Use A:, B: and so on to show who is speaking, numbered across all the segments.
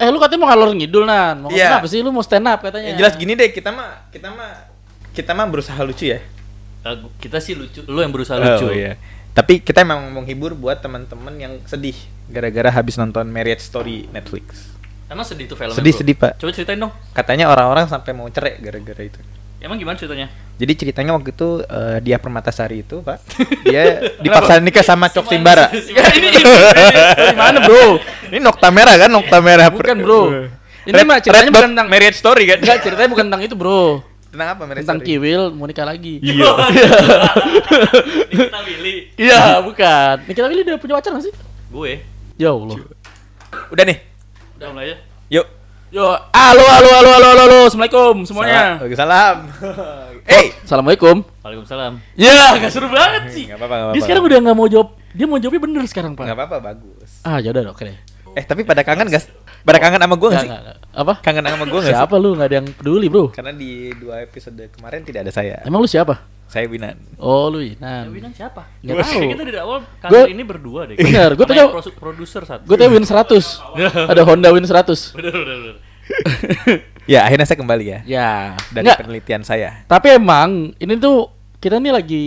A: Eh lu katanya mau ngalor ngidul nan. Mau
B: Iya.
A: kenapa sih lu mau stand up katanya?
B: Ya, jelas gini deh, kita mah kita mah kita mah berusaha lucu ya.
C: Eh, gu- kita sih lucu, lu yang berusaha lucu.
B: Oh, iya. Tapi kita memang menghibur buat teman-teman yang sedih gara-gara habis nonton Marriage Story Netflix.
C: Emang sedih tuh filmnya?
B: Sedih-
C: bro?
B: sedih, Pak.
C: Coba ceritain dong.
B: Katanya orang-orang sampai mau cerai gara-gara itu.
C: Emang gimana ceritanya?
B: Jadi ceritanya waktu itu eh, dia Permatasari itu, Pak, dia dipaksa nikah sama Cok Simbara.
C: ini ini.
A: Dari mana bro?
B: Ini Nokta Merah kan, Nokta Merah.
A: Bukan bro. Ini
B: Red-
A: mah ceritanya
B: Red Dot
A: bukan tentang
B: Marriage Story kan?
A: Enggak, ceritanya bukan tentang itu bro.
B: Tentang apa Marriage
A: Tentang
B: Story?
A: Kiwil mau nikah lagi.
B: Iya.
C: Kita Willy.
A: Iya, bukan. Nikita Willy udah punya pacar gak sih?
C: Gue.
A: Ya Allah.
B: Udah nih.
C: Udah mulai aja.
B: Yuk.
A: Yo, halo halo halo halo halo, halo. Assalamualaikum semuanya.
B: Salam. Eh,
A: Assalamualaikum.
C: Waalaikumsalam.
A: Ya, gak seru banget sih.
B: Iya, nggak apa-apa. nggak
A: Dia
B: apa-apa.
A: sekarang udah gak mau jawab. Dia mau jawabnya bener sekarang,
B: nggak
A: Pak.
B: apa-apa bagus.
A: Ah, ya udah oke deh.
B: Eh, tapi pada kangen gak? Pada kangen sama gue gak
A: Nggak,
B: sih?
A: nggak, nggak. Apa?
B: Kangen sama gue gak sih?
A: Siapa lu? Gak ada yang peduli, Bro.
B: Karena di dua episode kemarin tidak ada saya.
A: Emang lu siapa?
B: Saya Binan.
A: Oh, lu Inan.
C: Winan siapa?
A: Nggak
C: Gua-
A: tahu.
C: Kita dari awal kantor
A: Gua-
C: ini berdua deh.
A: Bener, gua
C: Sama
A: tanya-
C: yang prosu- produser satu.
A: Gue tanya Win 100. Ada Honda Win 100.
C: Bener, bener, bener.
B: Ya, akhirnya saya kembali ya.
A: Ya,
B: Dari
A: nggak.
B: penelitian saya.
A: Tapi emang ini tuh kita nih lagi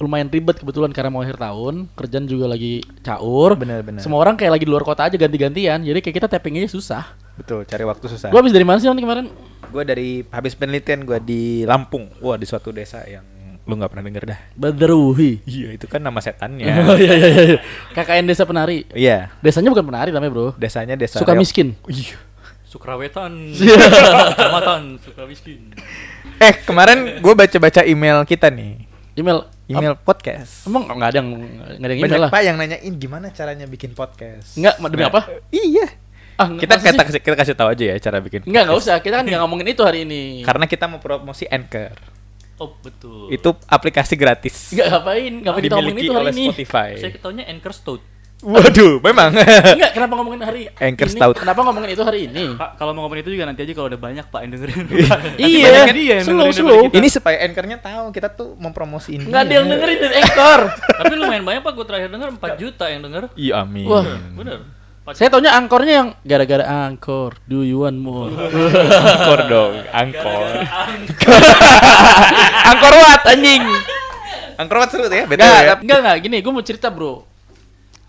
A: lumayan ribet kebetulan karena mau akhir tahun, kerjaan juga lagi caur.
B: Bener, bener.
A: Semua orang kayak lagi di luar kota aja ganti-gantian. Jadi kayak kita tapping aja susah.
B: Betul, cari waktu susah.
A: Gua habis dari mana sih nanti kemarin?
B: Gue dari habis penelitian gue di Lampung. Wah, di suatu desa yang lu nggak pernah denger dah.
A: Badruhi.
B: Iya, itu kan nama setannya.
A: Oh iya iya iya. iya. KKN Desa Penari.
B: Iya,
A: Desanya bukan penari namanya, Bro.
B: desanya desa
A: Suka
B: Reok.
A: miskin.
B: Iya.
C: Sukrawetan.
A: Iya.
C: Kecamatan Sukawiskin.
B: Eh, kemarin gue baca-baca email kita nih.
A: Email
B: Email podcast.
A: Emang nggak ada yang nggak ada yang email
B: Banyak
A: lah.
B: Pak yang nanyain gimana caranya bikin podcast.
A: Nggak demi apa?
B: Iya.
A: Ah,
B: Kita
A: masa sih?
B: kita kasih, kita kasih tahu aja ya cara bikin.
A: nggak nggak usah. Kita kan nggak ngomongin itu hari ini.
B: Karena kita mau promosi Anchor.
C: Oh, betul.
B: Itu aplikasi gratis.
A: Nggak ngapain, ngapain kita ngomongin
B: dimiliki
A: itu hari
B: oleh
A: ini.
B: Spotify.
C: Saya ketahunya Anchor Stout.
B: Waduh, memang.
A: Enggak, kenapa ngomongin hari
B: Anchor
A: ini?
B: Stout.
A: Kenapa ngomongin itu hari ini?
C: Pak, kalau mau ngomongin itu juga nanti aja kalau udah banyak Pak yang dengerin.
A: Iya.
C: banyak dia yang
A: Slow,
C: dengerin daripada
A: slow.
C: kita.
B: kan? ini supaya Anchornya tahu kita tuh mempromosiin.
A: Nggak ada
B: dia.
A: yang dengerin dari Anchor.
C: Tapi lumayan banyak Pak, gue terakhir denger 4 juta yang denger.
B: Iya, amin.
A: Wah.
C: Bener. Pak,
A: Saya taunya angkornya yang gara-gara angkor. Do you want more?
B: Angkor dong, angkor.
A: angkor what anjing?
B: Angkor banget seru tuh ya, betul
A: Enggak,
B: ya.
A: tapi- enggak enggak gini, gue mau cerita, Bro.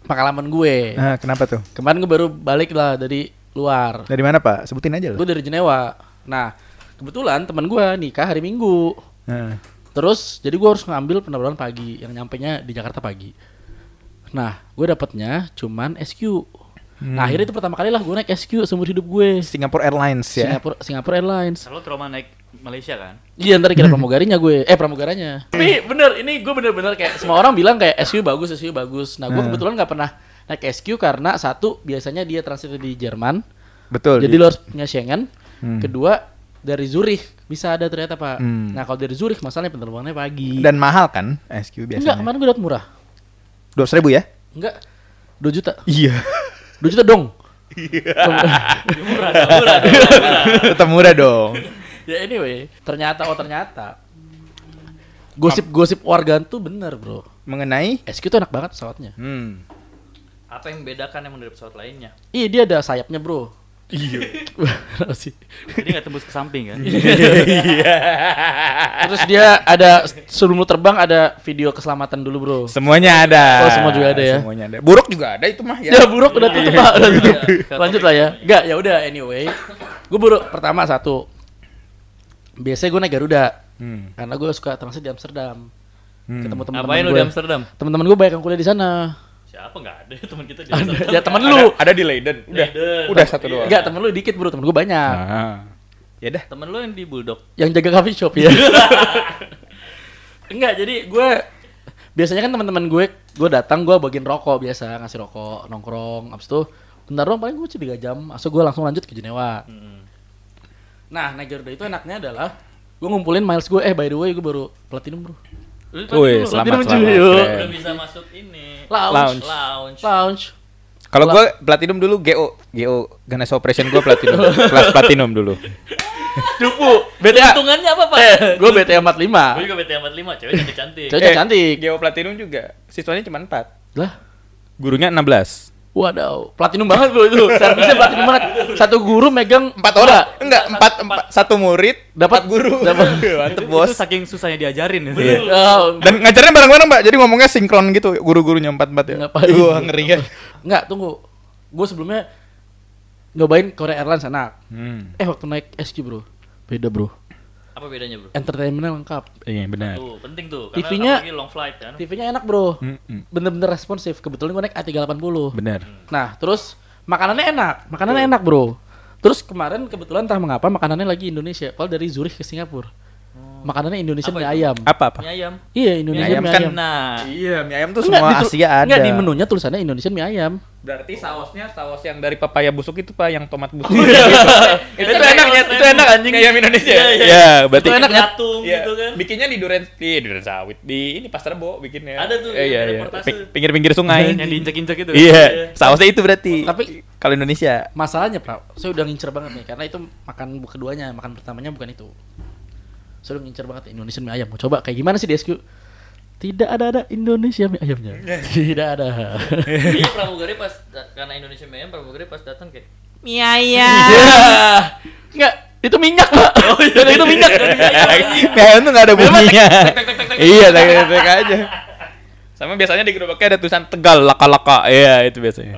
A: Pengalaman gue.
B: Nah, kenapa tuh?
A: Kemarin gue baru balik lah dari luar.
B: Dari mana, Pak? Sebutin aja
A: Gue dari Jenewa. Nah, kebetulan teman gue nikah hari Minggu.
B: Nah.
A: Terus jadi gue harus ngambil penerbangan pagi yang nyampenya di Jakarta pagi. Nah, gue dapatnya cuman SQ.
B: Hmm.
A: Nah, akhirnya itu pertama kali lah gue naik SQ seumur hidup gue.
B: Singapore Airlines ya.
A: Singapura Singapura Airlines.
C: Selalu trauma naik Malaysia kan?
A: Iya, ntar kira pramugarinya gue. Eh, pramugaranya. Tapi bener, ini gue bener-bener kayak semua orang bilang kayak SQ bagus, SQ bagus. Nah, gue
B: Hmm.
A: kebetulan nggak pernah naik SQ karena satu biasanya dia transit di Jerman.
B: Betul. iya.
A: Jadi lo harus punya Schengen.
B: Hmm.
A: Kedua dari Zurich bisa ada ternyata pak.
B: Hmm.
A: Nah kalau dari Zurich masalahnya penerbangannya pagi.
B: dan mahal kan SQ
A: enggak
B: biasanya.
A: kemarin gue dapat murah.
B: Dua ribu ya?
A: Enggak 2 juta.
B: Iya.
A: 2 juta dong.
C: Iya. Murah, murah, murah.
B: Tetap murah dong.
A: ya anyway ternyata oh ternyata gosip-gosip warga tuh bener bro.
B: Mengenai
A: SQ tuh enak banget pesawatnya.
B: Hmm.
C: Apa yang membedakan emang dari pesawat lainnya?
A: Iya dia ada sayapnya bro.
B: Iya.
A: Kenapa sih?
C: Jadi nggak tembus ke samping kan?
A: Iya. Terus dia ada sebelum lu terbang ada video keselamatan dulu bro.
B: Semuanya ada.
A: Oh, semua juga ada ya?
B: Semuanya ada. Buruk juga ada itu mah
A: Ya
B: ya.
A: buruk udah tutup pak. Udah tutup.
C: Iya.
A: Lanjut lah ya. Enggak ya udah anyway. Gue buruk pertama satu. Biasanya gue naik Garuda
B: Hmm.
A: karena gue suka transit di Amsterdam.
B: Hmm.
A: Ketemu teman-teman
C: Ngapain lu
A: gue.
C: di Amsterdam?
A: Teman-teman gue banyak yang kuliah di sana.
C: Siapa nggak ada teman kita di
A: Ada-
C: Amsterdam?
A: ya teman lu.
B: Ada di Leiden. Udah.
C: Leiden.
B: Udah satu doang.
A: Enggak Nah. teman lu dikit bro. Teman gue banyak.
B: Ah. Ya dah.
C: Temen lu yang di Bulldog.
A: Yang jaga coffee shop ya. Enggak jadi gue biasanya kan teman-teman gue gue datang gue bagiin rokok biasa ngasih rokok nongkrong abis itu bentar doang paling gue tiga jam asal gue langsung lanjut ke Jenewa Nah, naik Garuda itu enaknya adalah gue ngumpulin miles gue. Eh, by the way, gue baru platinum bro.
C: Lu
B: Wih,
C: di Bandung, lu
B: selamat
A: Tapi
B: selamat.
A: lucu, yuk.
B: keren.
C: Udah bisa masuk ini.
A: Lounge.
C: Lounge.
A: Lounge.
B: Kalau gue platinum dulu GO, GO Ganesha Operation gue platinum, kelas platinum dulu.
A: Cupu. BTA.
C: Keuntungannya apa, Pak?
A: Gue BTA
C: Gue
A: 45.
C: juga BT 45, cewek
B: Eh,
C: cantik-cantik.
A: Cewek cantik.
B: GO platinum juga. Siswanya cuma 4.
A: Lah.
B: Gurunya 16.
A: Waduh, platinum banget gue itu. Servisnya platinum banget. Satu guru megang
B: Empat orang? Enggak, empat, empat, satu murid,
A: Dapat-
B: dapat guru.
A: dapat.
B: Mantep
D: Itu-
B: bos.
D: Itu saking
C: ya.
D: susahnya diajarin. itu.
B: Iya.
A: Oh,
B: Dan ngajarnya bareng-bareng mbak, jadi ngomongnya sinkron gitu, guru-gurunya empat-empat ya.
A: Ngapain?
B: Wah ngeri kan.
A: enggak, tunggu. Gue sebelumnya nyobain Korea Airlines enak.
B: Hmm.
A: Eh waktu naik SQ bro, beda bro.
C: Apa bedanya, Bro?
A: Entertainmentnya lengkap.
B: Iya benar.
C: Tuh, penting tuh.
A: TV-nya
C: apalagi long flight kan.
A: TV-nya enak bro.
B: Mm-mm.
A: Bener-bener responsif. Kebetulan gue naik A380.
B: Hmm, Benar.
A: Nah terus makanannya enak, makanannya enak bro. Terus kemarin kebetulan entah mengapa makanannya lagi Indonesia. Kalau dari Zurich ke Singapura, makanannya Indonesia
C: Apa
A: mie
C: itu?
A: ayam.
B: Oh. Apa apa?
C: Mie ayam.
A: Iya Indonesia mie
B: ayam
A: ayam.
B: kan
C: Nah,
B: Iya, mie ayam tuh
A: Enggak,
B: semua
A: ditul-
B: Asia ada.
A: Enggak di menunya tulisannya Indonesia mie ayam.
B: Berarti sausnya saus yang dari pepaya busuk itu pak, yang tomat busuk. ya,
C: Itu Oh, iya. enak, itu enak,
B: anjing. Kayak anjing.
C: Iya,
B: Iya,
C: iya.
B: berarti.
C: itu enak
A: ya?
C: jatung
B: Iya,
C: gitu kan.
B: Bikinnya di duren di duren sawit di ini pasar Rebo bikinnya.
C: Ada tuh,
B: Eh, iya,
C: ada
B: iya.
C: reportase.
B: Ping- Pinggir-pinggir sungai.
D: Yang diinjek-injek itu.
B: Iya, sausnya itu berarti.
A: Tapi-
B: kalau Indonesia
A: Masalahnya Pak, saya udah ngincer banget nih karena itu makan bu- keduanya, makan pertamanya bukan itu. Saya udah ngincer banget Indonesia mie ayam. Mau coba kayak gimana sih di SQ? Tidak ada ada Indonesia mie ayamnya. Tidak ada.
C: Jadi Iya. pramugari pas da- karena Indonesia mie ayam, pramugari pas datang kayak
A: Enggak, itu minyak, Pak.
B: Oh, iya.
A: Dan itu minyak.
B: Kayak itu nggak ada bunyinya. Iya, tek tek, tek aja. Sama biasanya di gerobaknya ada tulisan Tegal laka-laka. Iya, itu biasanya.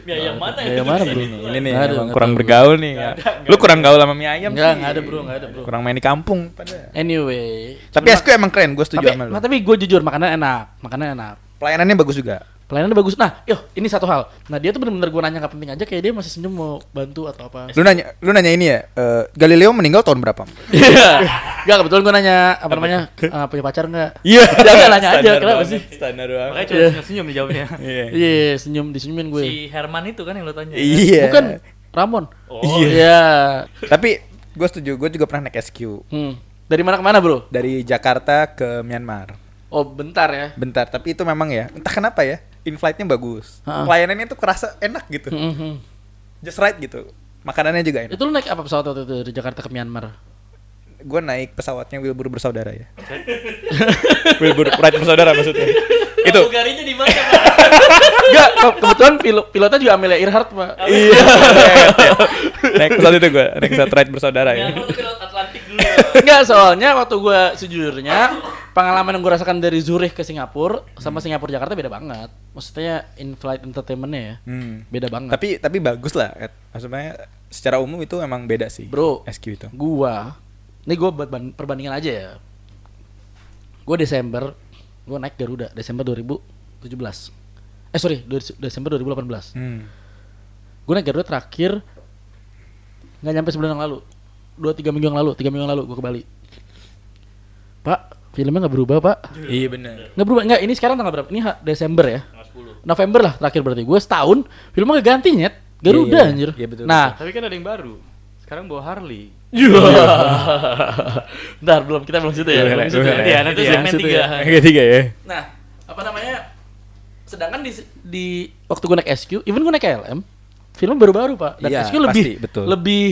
C: mie ayam mana
A: Mie
C: ya?"
A: ayam mana,
C: tulisan
A: Bro?
C: itu?
B: Ini
A: Nggak
B: nih,
A: ada,
B: emang
A: nggak
B: kurang
A: tahu.
B: bergaul nih. ya. Lu kurang gaul sama mie ayam
A: Enggak,
B: sih.
A: enggak ada, Bro, enggak ada, Bro.
B: Kurang main di kampung. pada.
A: Anyway.
B: Tapi
A: Cuma-
B: SQ emang keren, gue setuju
A: tapi,
B: sama lu.
A: nah, tapi gue jujur makanan enak, makanan enak.
B: Pelayanannya bagus juga.
A: Pelayanannya bagus. Nah, yo, ini satu hal. Nah, dia tuh bener-bener gue nanya gak penting aja kayak dia masih senyum mau bantu atau apa.
B: Lu nanya, lu nanya ini ya, eh, Galileo meninggal tahun berapa?
A: Iya. Enggak kebetulan gue nanya apa namanya? eh, punya pacar enggak?
B: Iya.
A: Jangan nanya aja kenapa sih?
B: Standar
D: Makanya
B: banget.
D: cuma
A: Iya.
D: senyum-senyum dijawabnya.
B: Iya.
A: Iya, senyum disenyumin gue.
C: Si Herman itu kan yang lo tanya.
B: Iya.
A: Bukan Ramon.
C: Oh,
A: Iya.
B: Tapi gue setuju, gue juga pernah naik SQ
A: Hmm. Dari mana ke mana, Bro?
B: dari Jakarta ke Myanmar.
A: Oh, bentar ya.
B: Bentar, tapi itu memang ya, entah kenapa ya, in-flightnya bagus.
A: Ha-ha.
B: Pelayanannya tuh kerasa enak gitu.
A: Hmm, hmm.
B: Just right gitu. Makanannya juga enak.
A: Itu lu naik apa pesawat waktu itu dari Jakarta ke Myanmar?
B: Gue naik pesawatnya Wilbur bersaudara ya. Wilbur Wright bersaudara maksudnya. itu.
C: Pramugarinya Kan di mana, Pak?
A: Enggak, ke- kebetulan pilot pilotnya juga Amelia Earhart, Pak.
B: Iya. naik pesawat itu gue, naik pesawat Wright bersaudara ya.
C: Myanmar tapi lewat Atlantik dulu.
A: Enggak, soalnya waktu gue sejujurnya pengalaman yang gue rasakan dari Zurich ke Singapura sama Singapura Jakarta beda banget. Maksudnya in flight entertainmentnya ya
B: Hmm.
A: beda banget.
B: Tapi tapi bagus lah. Ed. Maksudnya secara umum itu emang beda sih.
A: Bro.
B: SQ itu.
A: gua ini gua buat ban- perbandingan aja ya gua Desember gua naik Garuda Desember 2017 eh sorry du- Desember 2018
B: Hmm.
A: gua naik Garuda terakhir nggak nyampe sebulan yang lalu dua tiga minggu yang lalu tiga minggu yang lalu gua ke Bali pak filmnya nggak berubah pak
B: Iya benar.
A: nggak berubah nggak ini sekarang tanggal berapa ini ha- Desember ya
C: Tanggal 10.
A: November lah terakhir berarti gua setahun filmnya nggak ganti nyet Garuda
B: Iya, iya.
A: anjir
B: Iya, betul,
A: nah
D: Tapi kan ada yang baru. Sekarang bawa Harley.
A: Iya. Bentar, belum kita belum situ ya.
B: Belum,
A: belum
B: belum,
A: situ ya.
B: belum.
D: Nanti ya, nanti
C: Iya,
D: segmen
C: situ
D: tiga.
C: ya.
B: Ketiga ya.
A: Nah, apa namanya? Sedangkan di di waktu gue naik SQ, even gue naik KLM, film baru-baru pak. Dan
B: Iya,
A: SQ lebih
B: pasti, betul.
A: lebih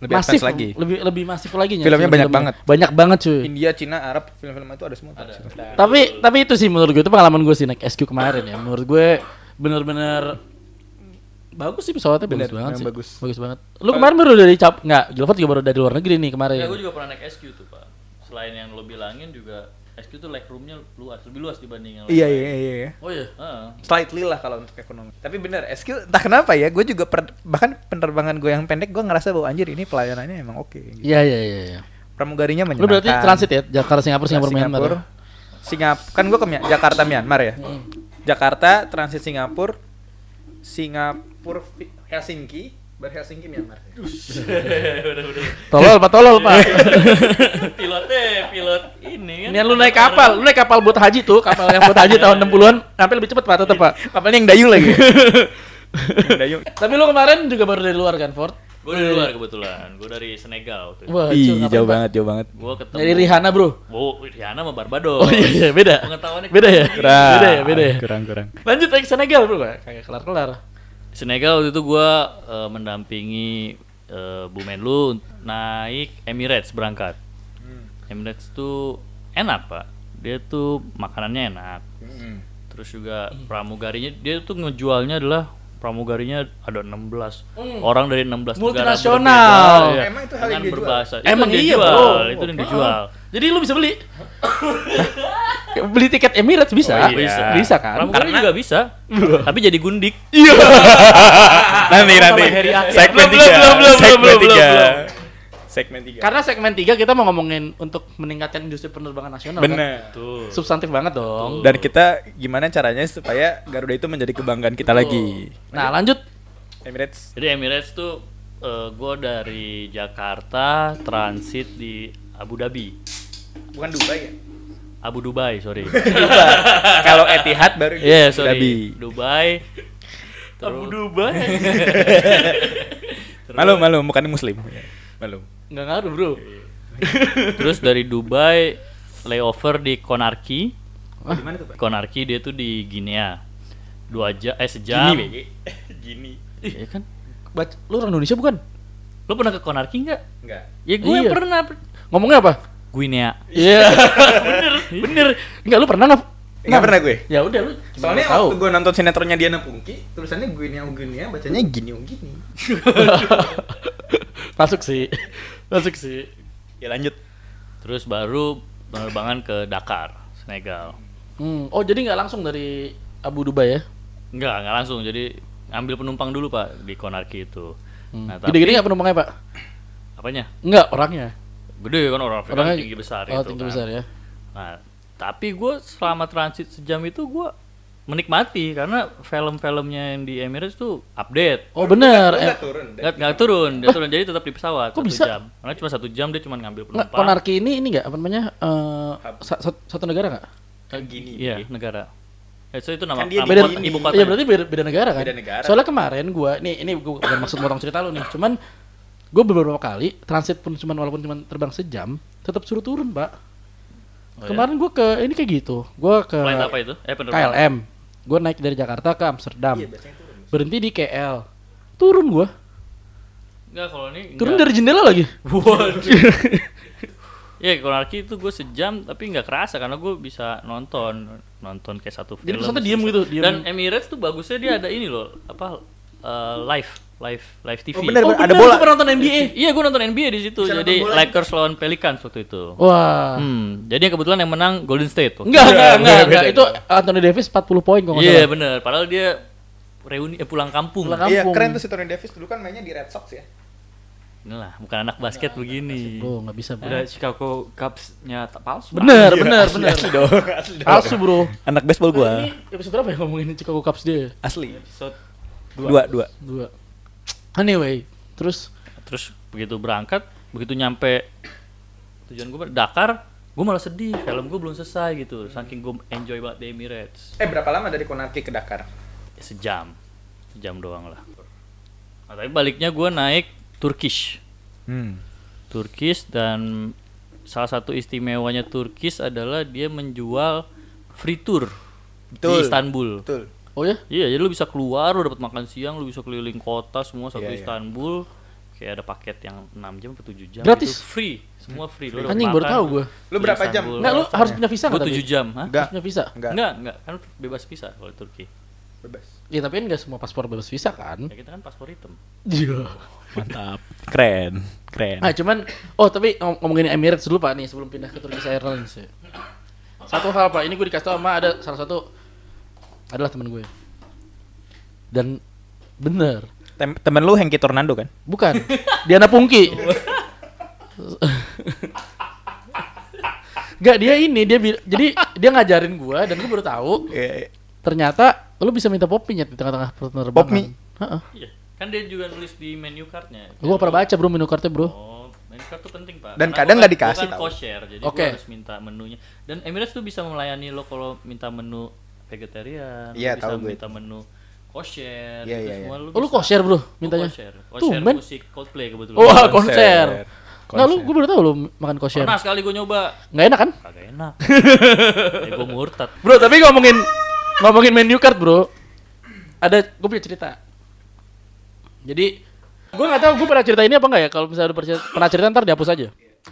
B: Lebih
A: masif
B: advance lagi.
A: lebih lebih masif lagi. Nyet,
B: Filmnya banyak
A: film-filmnya.
B: banget.
A: Banyak banget cuy.
B: India, Cina, Arab, film-film itu ada semua. Ada.
A: Tapi tapi itu sih menurut gue itu pengalaman gue sih naik SQ kemarin ya. Menurut gue bener-bener bagus sih pesawatnya
B: Bener,
A: bagus banget
B: memang
A: sih.
B: bagus.
A: banget. Lu kemarin baru dari cap nggak? Gilbert juga baru dari luar negeri nih kemarin.
C: Ya, gue juga pernah naik SQ tuh, Pak. Selain yang lo bilangin juga SQ tuh legroomnya luas, lebih luas dibanding yang lain.
B: Iya iya iya. iya.
A: Oh iya.
C: Heeh.
B: Slightly lah kalau untuk ekonomi. Tapi bener, SQ entah kenapa ya, gue juga per- bahkan penerbangan gue yang pendek, gue ngerasa bahwa anjir ini pelayanannya emang oke. gitu.
A: Iya iya iya. iya.
B: Pramugarinya
A: Lu
B: menyenangkan.
A: berarti transit ya Jakarta Singapura Singapura Myanmar.
B: Singapura,
A: ya?
B: Singap- kan gue ke Mya- Jakarta Myanmar ya. Jakarta transit Singapura, Singapura Vi- Helsinki, baru Helsinki Myanmar.
A: Tolol pak, tolol pak.
C: Pilotnya pilot ini kan.
A: Ini lu naik kapal, lu naik kapal buat haji tuh, kapal yang buat haji tahun 60-an, sampai lebih cepet pak tetep pak.
B: Kapalnya yang dayung lagi. yang dayung.
A: Tapi lu kemarin juga baru dari luar kan Ford?
C: Gue dari luar kebetulan. Gue dari Senegal tuh.
A: Wah,
B: Ih,
A: cur, ngapain,
B: jauh
A: Pak?
B: banget, jauh banget.
C: Gue ketemu.
A: Dari Rihanna bro.
C: Wow, Rihanna sama Barbados.
A: Oh iya, iya beda.
C: Pengetahuannya
A: Beda ya?
B: Kurang,
A: Beda ya, beda ya.
B: Ah, Kurang, kurang.
A: Lanjut naik Senegal bro pak, kayak kelar-kelar.
C: Senegal waktu itu gue mendampingi eh, Bu Menlu naik Emirates berangkat. Emirates tuh enak pak. Dia tuh makanannya enak. terus juga
A: Hmm.
C: pramugarinya dia tuh ngejualnya adalah pramugarinya ada 16 orang dari
A: Hmm.
C: 16
A: Multinasional.
C: negara berbeda, ya.
B: Emang itu hal yang
C: dengan
B: dia jual?
C: berbahasa Itu
A: Emang
C: yang dia
A: iya
C: jual,
A: bro.
C: itu yang
A: Oke.
C: dijual
A: Jadi lu bisa beli. beli tiket Emirates bisa.
C: Oh, iya.
A: bisa. Bisa kan? Iya.
C: pramugari juga bisa tapi jadi gundik
B: nanti nanti.
D: Heri Aki.
B: Segmen
C: Belum, belum, belum,
B: 3. Segmen
C: belum, belum,
B: 3. Segmen 3.
C: iya.
A: Karena segmen 3 kita mau ngomongin untuk meningkatkan industri penerbangan nasional. kan?
B: Benar.
C: tuh
A: Substantif banget dong.
B: Dan kita gimana caranya supaya Garuda itu menjadi kebanggaan kita lagi.
A: Nah, lanjut.
B: Emirates.
C: Jadi Emirates tuh gue dari Jakarta transit di Abu Dhabi,
B: Bukan Dubai ya?
C: Abu Dubai sorry.
B: Kalau Etihad baru
C: Iya
B: Abu
C: sorry.
B: Dhabi.
C: Dubai. Abu Dubai.
B: Malu malu bukan muslim. Malu.
A: Enggak ngaruh, Bro.
C: Terus dari Dubai layover di Konarki.
A: Hah?
B: Di mana tuh, Pak?
C: Konarki dia tuh di Guinea. Dua jam eh sejam.
B: Gini.
C: Iya kan?
A: Bac- lu orang Indonesia bukan?
C: Lo pernah ke Konarki nggak?
B: Enggak.
C: Ya gue
A: Iya.
C: pernah.
A: Ngomongnya apa?
C: Guinea.
A: Iya. bener, bener. Enggak lu pernah nggak?
B: Enggak pernah gue.
A: Ya udah lu. gimana
B: Soalnya
A: tahu.
B: waktu gue nonton sinetronnya Diana Pungki, tulisannya Guinea Guinea, bacanya Gini Gini.
A: Masuk sih. Masuk sih.
B: Ya lanjut.
C: Terus baru penerbangan ke Dakar, Senegal.
A: Hmm. Oh, jadi nggak langsung dari Abu Dubai ya?
C: Enggak, enggak langsung. Jadi ambil penumpang dulu, Pak, di Konarki itu. Nah, tapi
A: Hmm. Gede-gede nggak penumpangnya, Pak?
C: apanya?
A: Enggak, orangnya.
C: Gede kan orang Afrika
A: Orangnya
C: tinggi besar
A: oh,
C: itu.
A: tinggi
C: kan.
A: besar ya.
C: Nah, tapi gue selama transit sejam itu gue menikmati karena film-filmnya yang di Emirates tuh update.
A: Oh, bener. Eh,
B: Enggak turun. deh.
C: Nggak, nggak turun, dia turun jadi tetap di pesawat
A: Kok
C: satu
A: bisa?
C: jam. Karena cuma satu jam dia cuma ngambil
A: Nggak,
C: penumpang.
A: Konarki ini ini nggak apa namanya? eh, sa- sa- satu negara nggak?
B: Kayak Gini.
C: Iya, negara. Ya, so itu nama,
B: Kan dia
C: nama
B: di-
C: kota- ibu kota. ya?
A: Iya berarti beda, beda negara kan?
B: Beda negara.
A: Soalnya kemarin gua nih ini gua bukan maksud motong cerita lu nih, cuman gua beberapa kali transit pun cuman walaupun cuman terbang sejam, tetap suruh turun, Pak.
C: Oh, iya?
A: kemarin gua ke ini kayak gitu. Gua ke
C: Flight apa itu? Eh, penerbangan.
A: KLM. Gua naik dari Jakarta ke Amsterdam.
B: Iya,
A: Berhenti di KL. Turun gua.
C: Enggak, kalau ini
A: Turun
C: enggak.
A: dari jendela lagi.
C: Iya, Konarki itu gue sejam tapi nggak kerasa karena gue bisa nonton nonton kayak satu film.
A: Jadi pesannya diem gitu, diem.
C: Dan Emirates tuh bagusnya dia ada ini loh, apa eh, live live live TV.
B: Oh, bener.
A: oh,
B: Ada
A: bener,
B: bola.
A: gua pernah nonton NBA.
C: Iya, gue nonton NBA di situ.
B: Bisa
C: Jadi
B: nonton bola.
C: Lakers lawan Pelicans waktu itu.
A: Oh. Wah.
C: Hmm, jadi yang kebetulan yang menang Golden State. waktu
A: Enggak,
C: itu.
A: enggak, enggak,
B: beda,
A: enggak. Itu Anthony Davis 40 poin kok nggak
C: Iya,
A: salah.
C: bener. Padahal dia reuni eh, pulang kampung.
A: Pulang
B: Iya,
A: Kampung.
B: keren tuh si Tony Davis dulu kan mainnya di Red Sox ya.
C: Inilah, bukan anak basket begini.
A: Bro, Oh, nggak bisa, Bro.
D: Udah Chicago Cubs-nya tak palsu.
A: Bener, bener, bener.
B: Asli dong. Asli dong.
A: Palsu, Bro.
B: Anak baseball gua.
A: Ini episode berapa ya ngomongin Chicago Cubs dia? ya?
B: Asli.
D: Episode
B: Dua, dua.
A: Dua. Anyway, terus
C: Terus begitu berangkat, begitu nyampe tujuan gue Dakar, gue malah sedih. Film gue belum selesai gitu. Saking gue enjoy banget di Emirates.
B: Eh berapa lama dari Konarki ke Dakar?
C: Ya, Sejam, sejam doang lah. Nah, tapi baliknya gue naik Turkish,
B: Hmm.
C: Turkish dan salah satu istimewanya Turkish adalah dia menjual free tour
B: Betul.
C: di Istanbul.
B: Betul.
A: oh ya,
C: Iya, jadi lu bisa keluar, lu dapat makan siang, lu bisa keliling kota semua satu
B: Iya, iya.
C: Istanbul. Kayak ada paket yang 6 jam atau 7 jam.
A: Gratis?
C: gitu. free, semua free. Lu
A: Anjing, baru tahu gua.
B: Lu berapa jam?
A: enggak lu harus punya visa
C: Gue
A: nggak
C: 7
A: tapi?
C: jam, hah?
A: Harus
B: Enggak.
A: punya visa.
B: Enggak.
C: Enggak, enggak, kan bebas visa kalau di Turki.
B: Bebas.
A: Ya tapi kan nggak semua paspor bebas visa kan?
C: Ya kita kan paspor hitam.
A: Iya.
B: Mantap. Keren. Keren.
C: Iya.
A: Nah cuman, oh tapi ngom- ngomongin Emirates dulu pak nih sebelum pindah ke Turkish Airlines ya. Satu hal pak, ini gue dikasih tau sama ada salah satu adalah teman gue. Dan bener,
B: Tem temen lu Hengki Tornado kan?
A: bukan Diana Pungki. Gak dia ini dia bil- jadi dia ngajarin gue dan gue baru tahu
B: Iya.
A: ternyata lu bisa minta pop mie Nyet, di tengah-tengah penerbangan.
B: Pop mie?
A: Heeh.
C: Iya. Kan dia juga nulis di menu cardnya. Kan?
A: Gue pernah baca bro menu kartu bro.
C: Oh, menu card tuh penting, Pak.
B: Dan
C: Karena
B: kadang
C: gua
B: nggak
C: kan- gua
B: dikasih
C: kan
B: tahu.
C: kosher, jadi
A: Oke.
C: gua harus minta menunya. Dan Emirates tuh bisa melayani lo kalau minta menu vegetarian, lo
B: Iya,
C: bisa
B: tahu gue
C: minta menu kosher,
B: Iya,
C: itu
B: iya,
C: semua lu
A: Oh lu
C: bisa.
A: kosher bro
C: Gua
A: mintanya?
C: Kosher,
A: Tuh
C: kosher
A: men. Oh,
C: Oh, musik Coldplay kebetulan.
A: Wah
B: Konser.
A: konser. Nggak lu
B: Konser.
A: gue baru tahu lu makan kosher.
C: Pernah sekali gue nyoba,
A: Nggak enak kan?
C: kagak enak. ya gue murtad.
A: Bro, tapi ngomongin ngomongin menu card, Bro. Ada gue punya cerita. Jadi gue nggak tahu gue pernah cerita ini apa nggak ya. Kalau misalnya udah perce- pernah cerita ntar dihapus aja.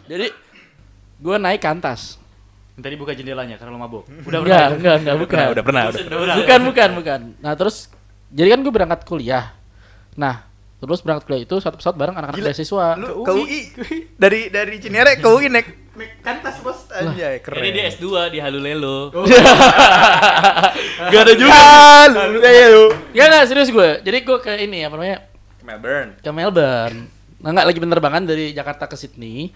A: Jadi gue naik kantas.
C: Tadi buka jendelanya karena lo mabuk. Udah
A: enggak,
C: pernah.
A: enggak, enggak, bukan.
B: udah pernah, udah.
C: Udah pernah.
A: bukan, bukan, bukan. Nah terus, jadi kan gue berangkat kuliah. Nah, terus berangkat kuliah itu satu pesawat bareng anak-anak beasiswa.
B: Lu ke UI. Dari dari Cinere ke UI naik naik kantas kan bos anjay keren.
C: Jadi dia S2 di Halulelo.
B: Gak ada juga. Lu ya lu.
A: Ya nggak serius gue. Jadi gue ke ini apa namanya
B: Melbourne.
A: ke Melbourne. Nah nggak lagi penerbangan dari Jakarta ke Sydney.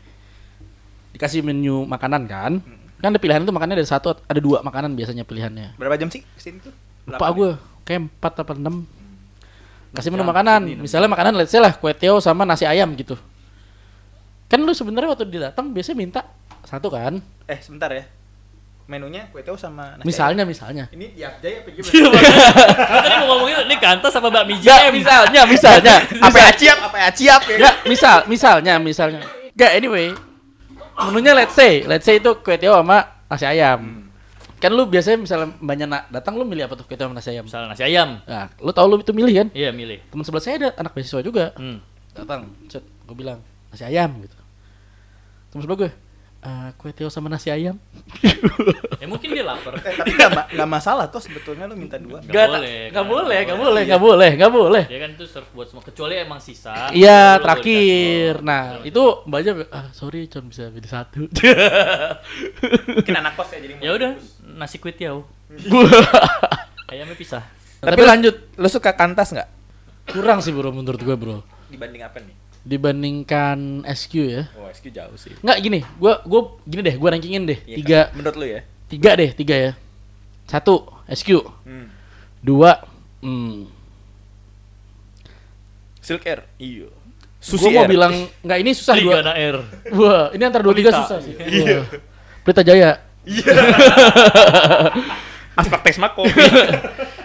A: Dikasih menu makanan kan. Kan ada pilihan itu makannya ada satu ada dua makanan biasanya pilihannya.
B: Berapa jam sih kesini tuh? ya?
A: Lupa gue, kayak 4 apa 6 Kasih menu makanan, misalnya makanan let's say lah kue tiaw sama nasi ayam gitu Kan lu sebenarnya waktu dia datang biasanya minta satu kan
B: Eh sebentar ya. Menunya kue tahu sama nasi
A: Misalnya, misalnya
B: ayam. Iya, Ini diapjai apa gimana?
C: Kan tadi mau ngomongin ini kantas apa bakmi
A: Ya
C: jam?
A: misalnya, misalnya
B: apa ya ciap? Apa ya ciap ya?
A: Ya misal, misalnya, misalnya Gak anyway Menunya let's say, let's say itu kue tiaw sama nasi ayam Kan lu biasanya misalnya banyak na- datang lu milih apa tuh kue tiaw sama nasi ayam
C: Misalnya nasi ayam.
A: Nah, lu tau lu itu milih kan
C: Iya, milih.
A: Temen sebelah saya ada anak beasiswa juga
C: Hmm.
A: datang cet gue bilang nasi ayam gitu terus sebelah gue "Eh, kue tiaw sama nasi ayam
C: Ya mungkin dia lapar.
B: Eh, tapi gak, ma- gak masalah toh sebetulnya lu minta dua.
C: Nggak boleh,
A: nggak
C: kan?
A: boleh
C: Nggak
A: nggak boleh nggak boleh nggak boleh
C: Dia kan itu serve buat semua kecuali emang sisa.
A: iya
C: baru lo
A: terakhir
C: dikasih.
A: nah itu banyak ah, sorry cuma bisa pilih satu
B: Mungkin anak kos ya jadi.
C: Ya udah, nasi kuit ya. Ayamnya pisah.
A: Nah, tapi lanjut
B: Lu suka kantas nggak?
A: kurang sih bro menurut gue bro
B: Dibanding apa nih?
A: dibandingkan SQ ya
B: Oh, SQ jauh sih.
A: nggak gini gue gue gini deh gue rankingin deh
B: Iya
A: tiga
B: kan? Menurut lu ya?
A: tiga deh tiga ya satu SQ
B: Hmm.
A: dua hmm,
B: Silk Air. Iya.
A: gue mau bilang nggak ini susah gue
C: Trigana Air.
A: Wah, ini antara dua tiga
C: Pelita.
A: susah sih. Wah. Pelita Jaya.
B: Aspek tes mako.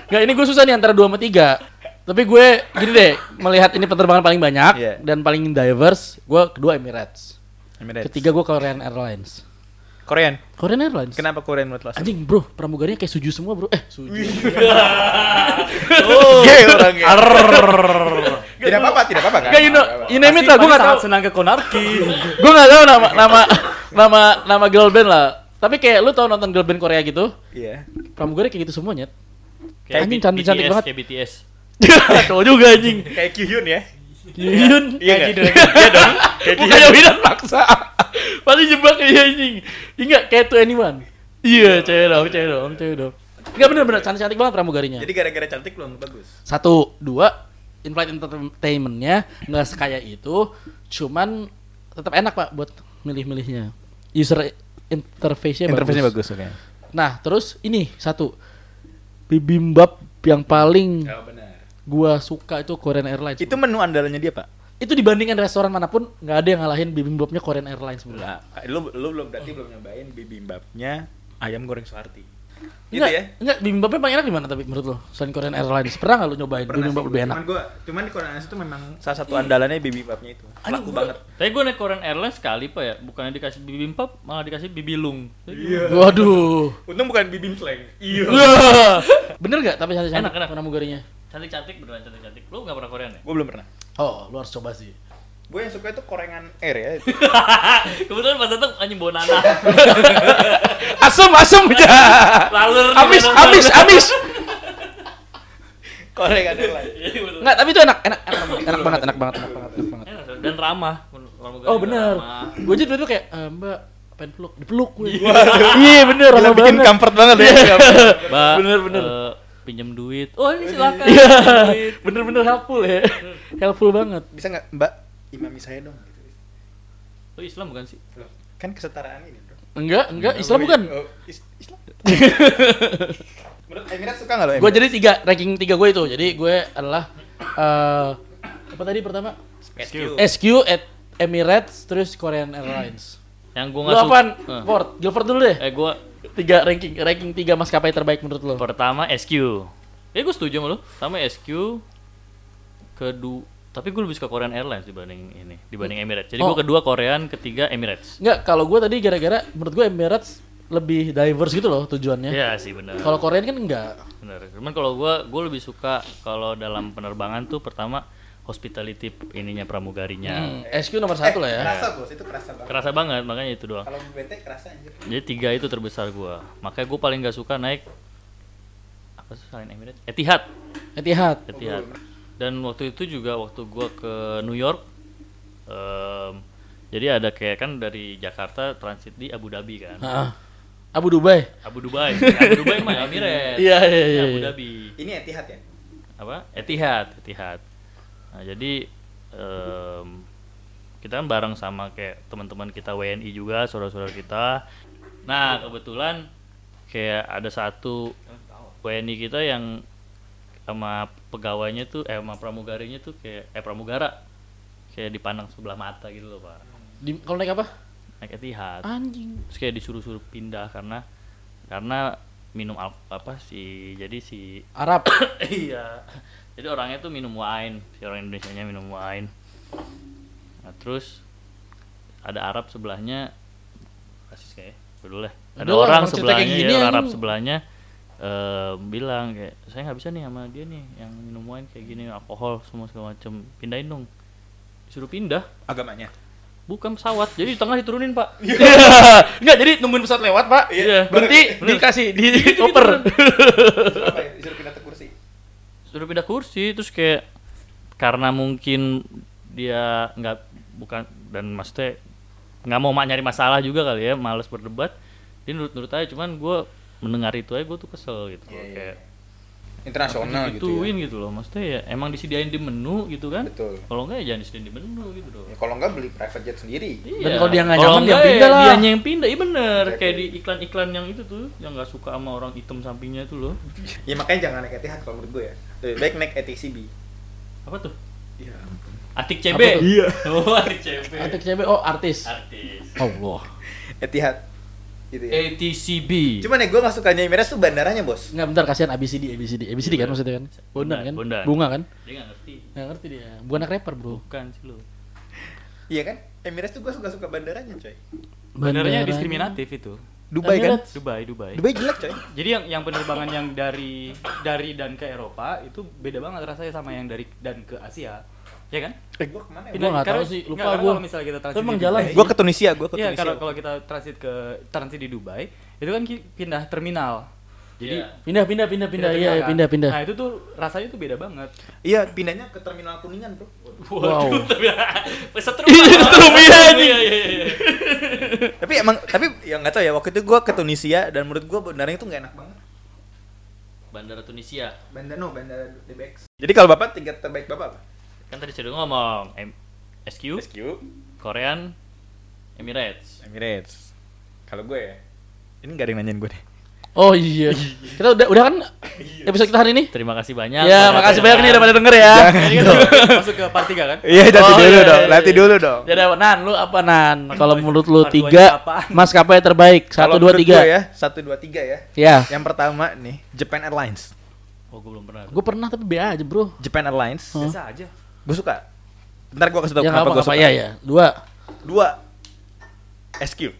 A: Nggak, ini gue susah nih antara dua sama tiga. Tapi gue gini deh, melihat ini penerbangan paling banyak
B: Iya.
A: dan paling diverse, gue kedua Emirates. Ketiga gue Korean Airlines.
B: Korean.
A: Korean Airlines.
B: Kenapa Korean menurut lo?
A: Anjing bro, pramugarinya kayak suju semua bro. Eh, suju.
C: Oh,
A: Oh.
B: Gay orangnya. Tidak apa-apa, tidak apa-apa kan?
A: Gak, you know, you name it lah, gue
D: Pasti
A: nggak tahu.
D: sangat senang ke Konarki.
A: Gue nggak tahu nama nama nama nama girl band lah. Tapi kayak lu tau nonton girl band Korea gitu,
B: Iya.
A: pramugari kayak gitu semuanya.
C: Kayak
A: Anjing,
C: B-
A: cantik-cantik
C: BTS,
A: banget.
C: Kayak BTS.
A: Cowok juga anjing.
B: Kayak Kyuhyun ya.
A: Yun,
B: Iya
A: kayak
B: nggak?
A: gitu.
B: Iya dong. Kayak
A: Bukannya Widan maksa. Pasti jebak dia anjing. Ingat kayak to anyone. Iya, cewek dong, cewek dong, cewek dong. Enggak bener-bener cantik-cantik banget pramugarinya.
B: Jadi gara-gara cantik belum Iya. bagus.
A: Satu, dua, in-flight entertainmentnya nggak sekaya itu, cuman tetap enak pak buat milih-milihnya. User interface-nya bagus.
B: oke.
A: Nah, terus ini satu bibimbap yang paling
B: Oh, benar.
A: gua suka itu Korean Airlines.
B: Ya. Itu menu andalannya dia, Pak.
A: itu dibandingkan restoran manapun nggak ada yang ngalahin bibimbapnya Korean Airlines bro.
B: Nah, lu lu belum berarti belum nyobain bibimbapnya ayam goreng Suharti. Gitu
A: Enggak,
B: ya.
A: Enggak, bibimbapnya paling enak di mana tapi menurut lo? Selain Korean Airlines, pernah nggak lo nyobain bibimbap lebih enak?
B: Cuman gua, cuman di Korean itu memang salah satu andalannya bibimbapnya itu. Laku banget.
C: Tapi gue naik Korean Airlines sekali pak ya, bukannya dikasih bibimbap, malah dikasih bibilung.
A: Waduh.
B: Untung bukan bibim slang. Iya.
A: Bener nggak tapi cantik
C: Enak, enak.
A: pramugarinya?
C: Cantik-cantik beneran cantik-cantik. Lu nggak pernah Korean ya?
B: Gua belum pernah.
A: Oh, lo harus coba sih.
B: Gue yang suka itu korengan air ya.
C: Kebetulan pas datang anjing bawa nana.
A: Asem, asem ya.
C: Laler.
A: Amis, amis, amis.
B: korengan air lagi.
C: Iya,
A: Enggak, tapi itu enak, enak, enak, banget, enak banget, enak banget, enak banget, enak banget.
C: Enak, Sir. Iya, Dan ramah. Menurut- menurut gua
A: Oh
C: juga
A: bener.
C: ramah.
A: Gue aja dulu kayak "Eh, Mbak pengen peluk, dipeluk gue. Iya bener,
B: Kita
A: ramah
B: bikin
A: banget.
B: comfort banget ya.
C: Mbak,
A: Bener, bener.
C: eh, pinjam duit. Oh ini silakan.
A: Iya,
C: pinjam duit.
A: bener-bener helpful ya, helpful banget.
B: Bisa nggak Mbak imami saya dong? Gitu.
C: Lu Oh, Islam bukan sih?
B: Loh, Kan kesetaraan ini bro.
A: Enggak, enggak, Islam bukan.
B: Oh, is- Islam. Menurut Emirat suka nggak lo
A: Gue jadi tiga ranking tiga gue itu. Jadi gue adalah eh apa tadi pertama?
B: SQ.
A: SQ at Emirates terus Korean Airlines.
C: Yang gue
A: Lu
C: nggak suka.
A: apaan? Ford, Gilford dulu deh.
C: Eh gue
A: Tiga ranking, ranking tiga maskapai terbaik menurut lo.
C: pertama SQ. Ya gue setuju sama lu. Pertama SQ. Kedua tapi gue lebih suka Korean Airlines dibanding ini, dibanding Emirates. Jadi
A: Oh.
C: gue kedua Korean, ketiga Emirates.
A: Enggak, kalau gue tadi gara-gara menurut gue Emirates lebih diverse gitu loh tujuannya.
C: Iya sih benar.
A: Kalau Korean kan enggak.
C: Benar. Cuman kalau gua gua lebih suka kalau dalam penerbangan tuh pertama hospitality ininya
D: Ya.
C: pramugarinya.
A: Hmm, SQ nomor satu lah ya.
B: Kerasa bos, itu kerasa banget.
C: Kerasa banget makanya itu doang.
B: Kalau BT kerasa anjir.
C: Jadi tiga itu terbesar gua. Makanya gua paling gak suka naik apa sih selain Emirates? Etihad.
D: Eh,
A: Etihad.
C: Etihad. Dan waktu itu juga waktu gua ke New York em, jadi ada kayak kan dari Jakarta transit di Abu Dhabi kan.
A: Heeh. Abu Dubai.
C: Abu Dubai. Abu Dubai mah Emirates.
A: Iya, iya, iya,
C: Abu
A: iya.
C: Dhabi.
B: Ini Etihad ya?
C: Apa? Etihad, Etihad. Nah, jadi em, kita kan bareng sama kayak teman-teman kita WNI juga, saudara-saudara kita. Nah, kebetulan kayak ada satu WNI kita yang sama pegawainya tuh eh sama pramugarinya tuh kayak eh pramugara kayak dipandang sebelah mata gitu loh, Pak.
A: Di- Kalau naik apa?
C: Naik Etihad
A: Anjing.
C: terus kayak disuruh-suruh pindah karena karena minum al apa sih jadi si
A: Arab.
C: iya jadi orangnya tuh minum wine si orang Indonesia nya minum wine nah, terus ada Arab sebelahnya rasis kayak dulu lah
A: Udah
C: ada
A: lah,
C: orang
A: orang cerita kayak
C: sebelahnya ya,
A: gini
C: orang Arab
A: anjing.
C: sebelahnya eh, bilang kayak saya nggak bisa nih sama dia nih yang minum wine kayak gini alkohol semua segala macem pindahin dong disuruh pindah
B: Agamanya.
C: bukan pesawat jadi di tengah diturunin pak
A: Iya, Enggak, jadi nungguin pesawat lewat, Pak.
C: Iya.
A: Berarti
C: Bener.
A: dikasih di
D: Iya, gitu,
A: oper.
B: Apa ya? Disuruh pindah ke kursi.
C: sudah pindah kursi terus kayak karena mungkin dia nggak bukan dan maksudnya nggak mau ma- nyari masalah juga kali ya males berdebat dia nurut-nurut aja cuman gue mendengar itu aja gue tuh kesel gitu loh
B: Iya, iya,
C: kayak
B: Internasional gitu.
C: gituin
B: Ya.
C: gitu loh maksudnya ya emang disediain di menu gitu kan
B: Betul.
C: kalau enggak ya jangan disediain di menu gitu loh
B: Ya, kalau enggak beli private jet sendiri.
C: Iya.
A: Dan kalau dia nggak
C: Kalau
A: nyaman, dia
C: nggak ya
A: pindah lah.
C: dianya yang pindah iya bener
B: Oke,
C: kayak
B: oke.
C: di iklan-iklan yang itu tuh yang nggak suka sama orang hitam sampingnya itu loh
B: Ya makanya jangan naik Etihad kalau menurut gue ya. Lebih baik naik ETCB.
C: apa tuh
B: Iya.
C: Atik CB
A: Apa tuh?
C: iya oh Atik CB
A: Atik CB oh artis.
C: artis
A: Allah.
B: Etihad. Gitu ya.
C: ATCB.
B: Cuman ya gue gak sukanya Emirates tuh bandaranya bos.
A: Enggak bentar kasihan ABCD ABCD. ABCD kan maksudnya kan? Bondan kan?
C: Bondan.
A: Bunga kan?
C: Dia nggak ngerti.
A: Enggak ngerti dia. Bukan anak rapper, Bro.
C: Bukan sih lu.
B: Iya kan? Emirates tuh gue suka suka bandaranya coy.
D: Sebenarnya
A: Bandaranya.
D: diskriminatif itu.
B: Dubai kan?
A: Emirates.
D: Dubai, Dubai.
B: Dubai jelek coy.
D: Jadi yang yang penerbangan yang dari dari dan ke Eropa itu beda banget rasanya sama yang dari dan ke Asia. Ya kan?
B: Eh gue kemana ya?
A: Gua nggak
D: karena-
A: tahu sih, lupa
D: nggak, karena
A: gua.
D: Kalau misalnya kita transit
A: Tapi emang
D: di
A: jalan
D: Dubai-
A: sih.
B: Gue Eh, ke Tunisia, gue ke
D: Iya,
B: Tunisia.
D: kalau kalau kita transit ke transit di Dubai, itu kan ki- pindah terminal. Jadi
C: Iya.
A: Pindah pindah pindah pindah. Iya,
D: kan?
A: pindah pindah.
D: Nah, itu tuh rasanya tuh beda banget.
B: Iya pindahnya ke terminal kuningan bro.
A: Wow.
C: Setrum. Setrum iya iya iya.
B: tapi emang tapi ya nggak tahu ya waktu itu gue ke Tunisia dan menurut gue bandaranya tuh nggak enak banget.
C: Bandara Tunisia.
B: Bandar no bandar DBX. Jadi kalau bapak tiga terbaik bapak apa?
C: Kan tadi sudah ngomong M SQ,
B: SQ,
C: Korean, Emirates.
B: Emirates. Kalau gue ya. Ini gak ada yang nanyain gue deh.
A: Oh iya. Kita udah udah kan
D: Iya.
A: episode kita hari ini?
C: Terima kasih banyak.
A: Ya, makasih banyak nih udah pada denger ya.
D: Masuk ke part 3 kan?
B: Iya, nanti
A: Oh,
B: dulu
A: iya,
B: dong.
A: iya,
B: Nanti
A: iya.
B: dulu dong.
A: Jadi apa, Nan, lu apa Nan? Kalau menurut lu
D: Part dua ini
A: tiga
D: apaan?
A: maskapai terbaik
B: Kalau
A: satu dua
B: menurut
A: tiga
B: gue ya, satu dua tiga ya.
A: Ya.
B: Yang pertama nih, Japan Airlines.
C: Oh, gue belum pernah.
A: Gue pernah tapi BA aja bro.
B: Japan Airlines.
A: Hmm.
D: Biasa aja.
B: Gue suka. Ntar gue kasih tau
A: Ya apa
B: kenapa gue
A: apa
B: suka.
A: ya ya. Dua.
B: Dua, SQ.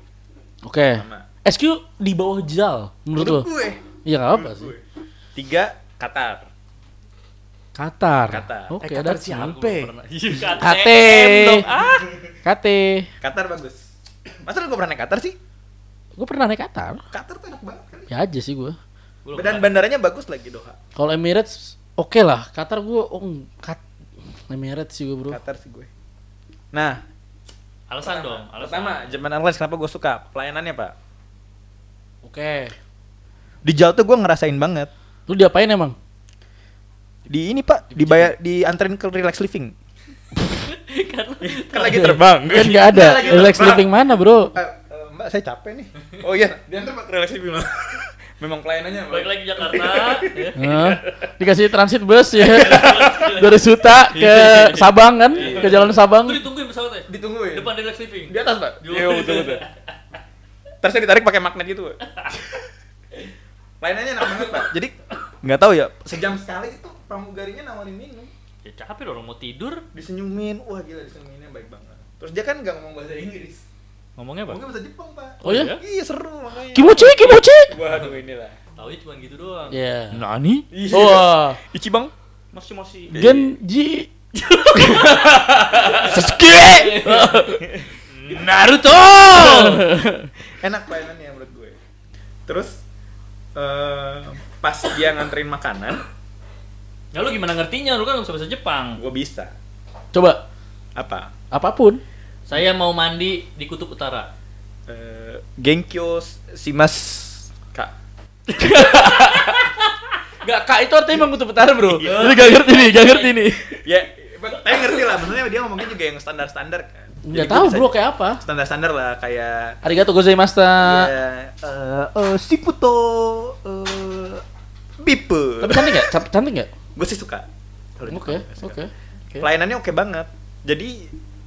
A: Oke.
B: Sama.
A: SQ di bawah Jal menurut lu?
B: gue.
A: Iya nggak apa sih.
B: Tiga, Qatar.
A: Qatar.
B: Qatar.
A: Oke,
D: Eh, Qatar
A: ada
D: siapa? Iya,
A: siapa? KT.
C: KTM dong. Ah.
A: KT.
B: Qatar bagus. Masa lu gak pernah naik Qatar sih?
A: Gue pernah naik Qatar.
B: Qatar tuh enak banget kan? kali.
A: Ya aja sih gue.
C: Gua belum
B: Dan bandaranya bagus lagi Doha.
A: Kalau Emirates oke lah. Qatar gue oh, Kat Emirates sih gue bro.
B: Qatar sih gue. Nah,
C: pernah. Alasan dong, alasan.
B: pertama Japan Airlines kenapa gue suka pelayanannya pak?
A: Oke.
B: Di Jawa tuh gue ngerasain banget.
A: Lu diapain emang?
B: Di ini pak, dibayar, dianterin ke relax living. kan lagi
A: Kan nggak ada.
B: Kan lagi
A: Relax
B: terbang.
A: living mana bro?
B: Eh, eh, mbak saya capek nih. Oh iya, diantar pak ke relax living. Memang pelayanannya. Pak.
C: Balik lagi Jakarta. ya.
A: Hah? dikasih transit bus ya dari Suta ke Sabang kan ke Jalan Sabang
C: Itu ditungguin pesawatnya.
B: Ditungguin.
C: Depan relax living.
B: Di atas pak.
C: Di-
B: Iya betul betul. Terusnya ditarik pakai magnet gitu. Pak. Pelayanannya enak banget pak. Jadi nggak tahu ya. Sejam sekali itu pramugarinya nawarin minum.
C: Ya capek dong orang mau tidur.
B: disenyumin wah gila disenyuminnya baik banget terus dia kan nggak ngomong bahasa Inggris
C: Hmm. Ngomongnya apa?
B: mungkin bahasa Jepang pak
A: Oh iya?
B: iya seru makanya
A: Kimochi Kimochi
B: waduh inilah
C: Taunya cuma gitu doang.
A: ya
C: Nani?
A: wah
B: Ichibang
C: Masih masih
A: Genji
B: Sasuke! Naruto! Enak mainannya menurut gue. Terus eh, pas dia nganterin makanan,
C: Ya lu gimana ngertinya? Lu kan nggak bisa bahasa Jepang.
B: gue bisa.
A: Coba
B: Apa?
A: apapun.
C: Saya mau mandi di Kutub Utara.
B: Eh, Genkyo Shimas Kak.
A: Gak kak itu artinya mengutip utara bro.
B: Iya.
A: Jadi gak ngerti nih, gak ngerti nih.
B: Ya, tapi ngerti lah. Maksudnya dia ngomongnya juga yang standar-standar kan. Jadi
A: Gak
B: gue
A: tahu
B: bisa-
A: bro kayak Ah. apa.
B: Standar-standar lah kayak
A: Arigato gozaimashita.
B: Ya, eh eh, Siputo eh Bipe.
A: Tapi cantik gak? Cap- Cantik gak?
B: gue sih suka. Kalau
A: Oke,
B: Jepang, gua suka.
A: oke. oke.
B: Pelayanannya oke banget. Jadi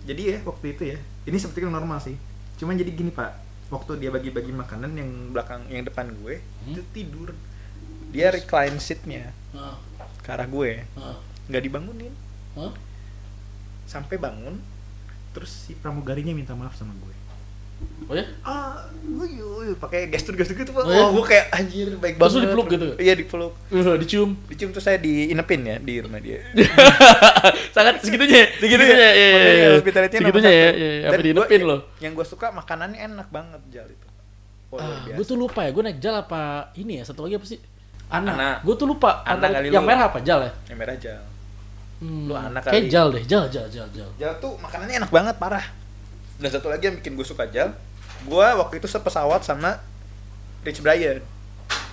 B: jadi ya waktu itu ya. Ini sepertinya normal sih. Cuman jadi gini, Pak. Waktu dia bagi-bagi makanan yang belakang yang depan gue,
A: Hmm?
B: itu tidur. Dia recline seatnya
A: Heeh,
B: ke arah gue.
A: heeh,
B: Nggak dibangunin.
A: heeh.
B: Sampai bangun terus si pramugarinya minta maaf sama gue.
A: Oh ya?
B: ah uyuh, pakai gestur-gestur gitu pak
A: Oh, iya?
B: oh, gue kayak anjir baik
A: Terus
B: banget
A: lu dipeluk gitu?
B: iya dipeluk
A: Uh, dicium.
B: dicium terus saya diinepin ya di rumah dia
A: Sangat segitunya.
B: Segitunya,
A: ya. Iya, iya, iya.
B: Gitu hospitalitynya nomor
A: Segitunya ya. iya,
B: satu.
A: iya.
B: Dan
A: Apa
B: gua-
A: diinepin lo?
B: yang gue suka makanannya enak banget jal itu oh, luar
A: Ah,
B: biasa.
A: gue tuh lupa ya, gue naik jal apa ini ya, satu lagi apa sih? Anak.
B: Anak.
A: Gue tuh lupa.
B: Anak
A: antara-
B: kali
A: yang
B: lu.
A: merah apa jal ya?
B: yang merah jal
A: Hmm,
B: Lu anak
A: kayak
B: kali.
A: jal deh, jal, jal, jal, jal.
B: jal tuh makanannya enak banget parah dan satu lagi yang bikin gue suka jal gue waktu itu sepesawat sama Rich Brian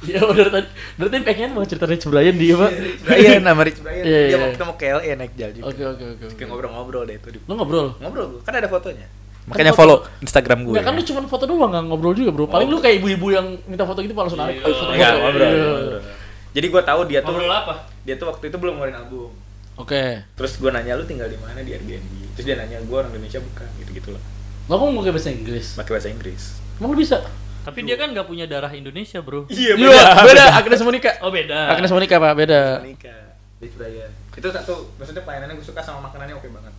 A: Iya, udah tadi. Berarti pengen banget cerita Rich Brian dia, Pak.
B: Iya, Brian sama Rich Brian
A: Iya,
B: dia
A: iya.
B: waktu itu mau KLE naik ya, jal juga
A: Oke, oke, oke.
B: Kayak ngobrol-ngobrol deh itu di
A: Lo ngobrol?
B: ngobrol gue kan ada fotonya
A: Makanya follow
B: Instagram ya.
A: Enggak kan lu cuma foto doang, nggak ngobrol juga, Bro. Paling lu kayak ibu-ibu yang minta foto gitu langsung narik. "Ayo, foto,
B: Oh. iya. Enggak,
A: foto."
B: ngobrol.
A: Iya.
B: ngobrol. Jadi gue tahu dia tuh
C: Ngobrol apa?
B: dia tuh waktu itu belum ngeluarin album.
A: Oke.
B: Terus gue nanya lu tinggal di mana di Airbnb. Terus dia nanya gue orang Indonesia bukan gitu gitulah.
A: Lo kok mau pakai bahasa Inggris?
B: Pakai bahasa Inggris.
A: Emang lu bisa?
C: Tapi dia kan nggak punya darah Indonesia, bro.
B: Iya
A: Iya, beda Agnes Monica.
C: Oh beda.
A: Agnes Monica, Pak, beda.
B: Nikah. Dia Brian. Itu satu maksudnya pelayanannya gue suka sama makanannya oke banget.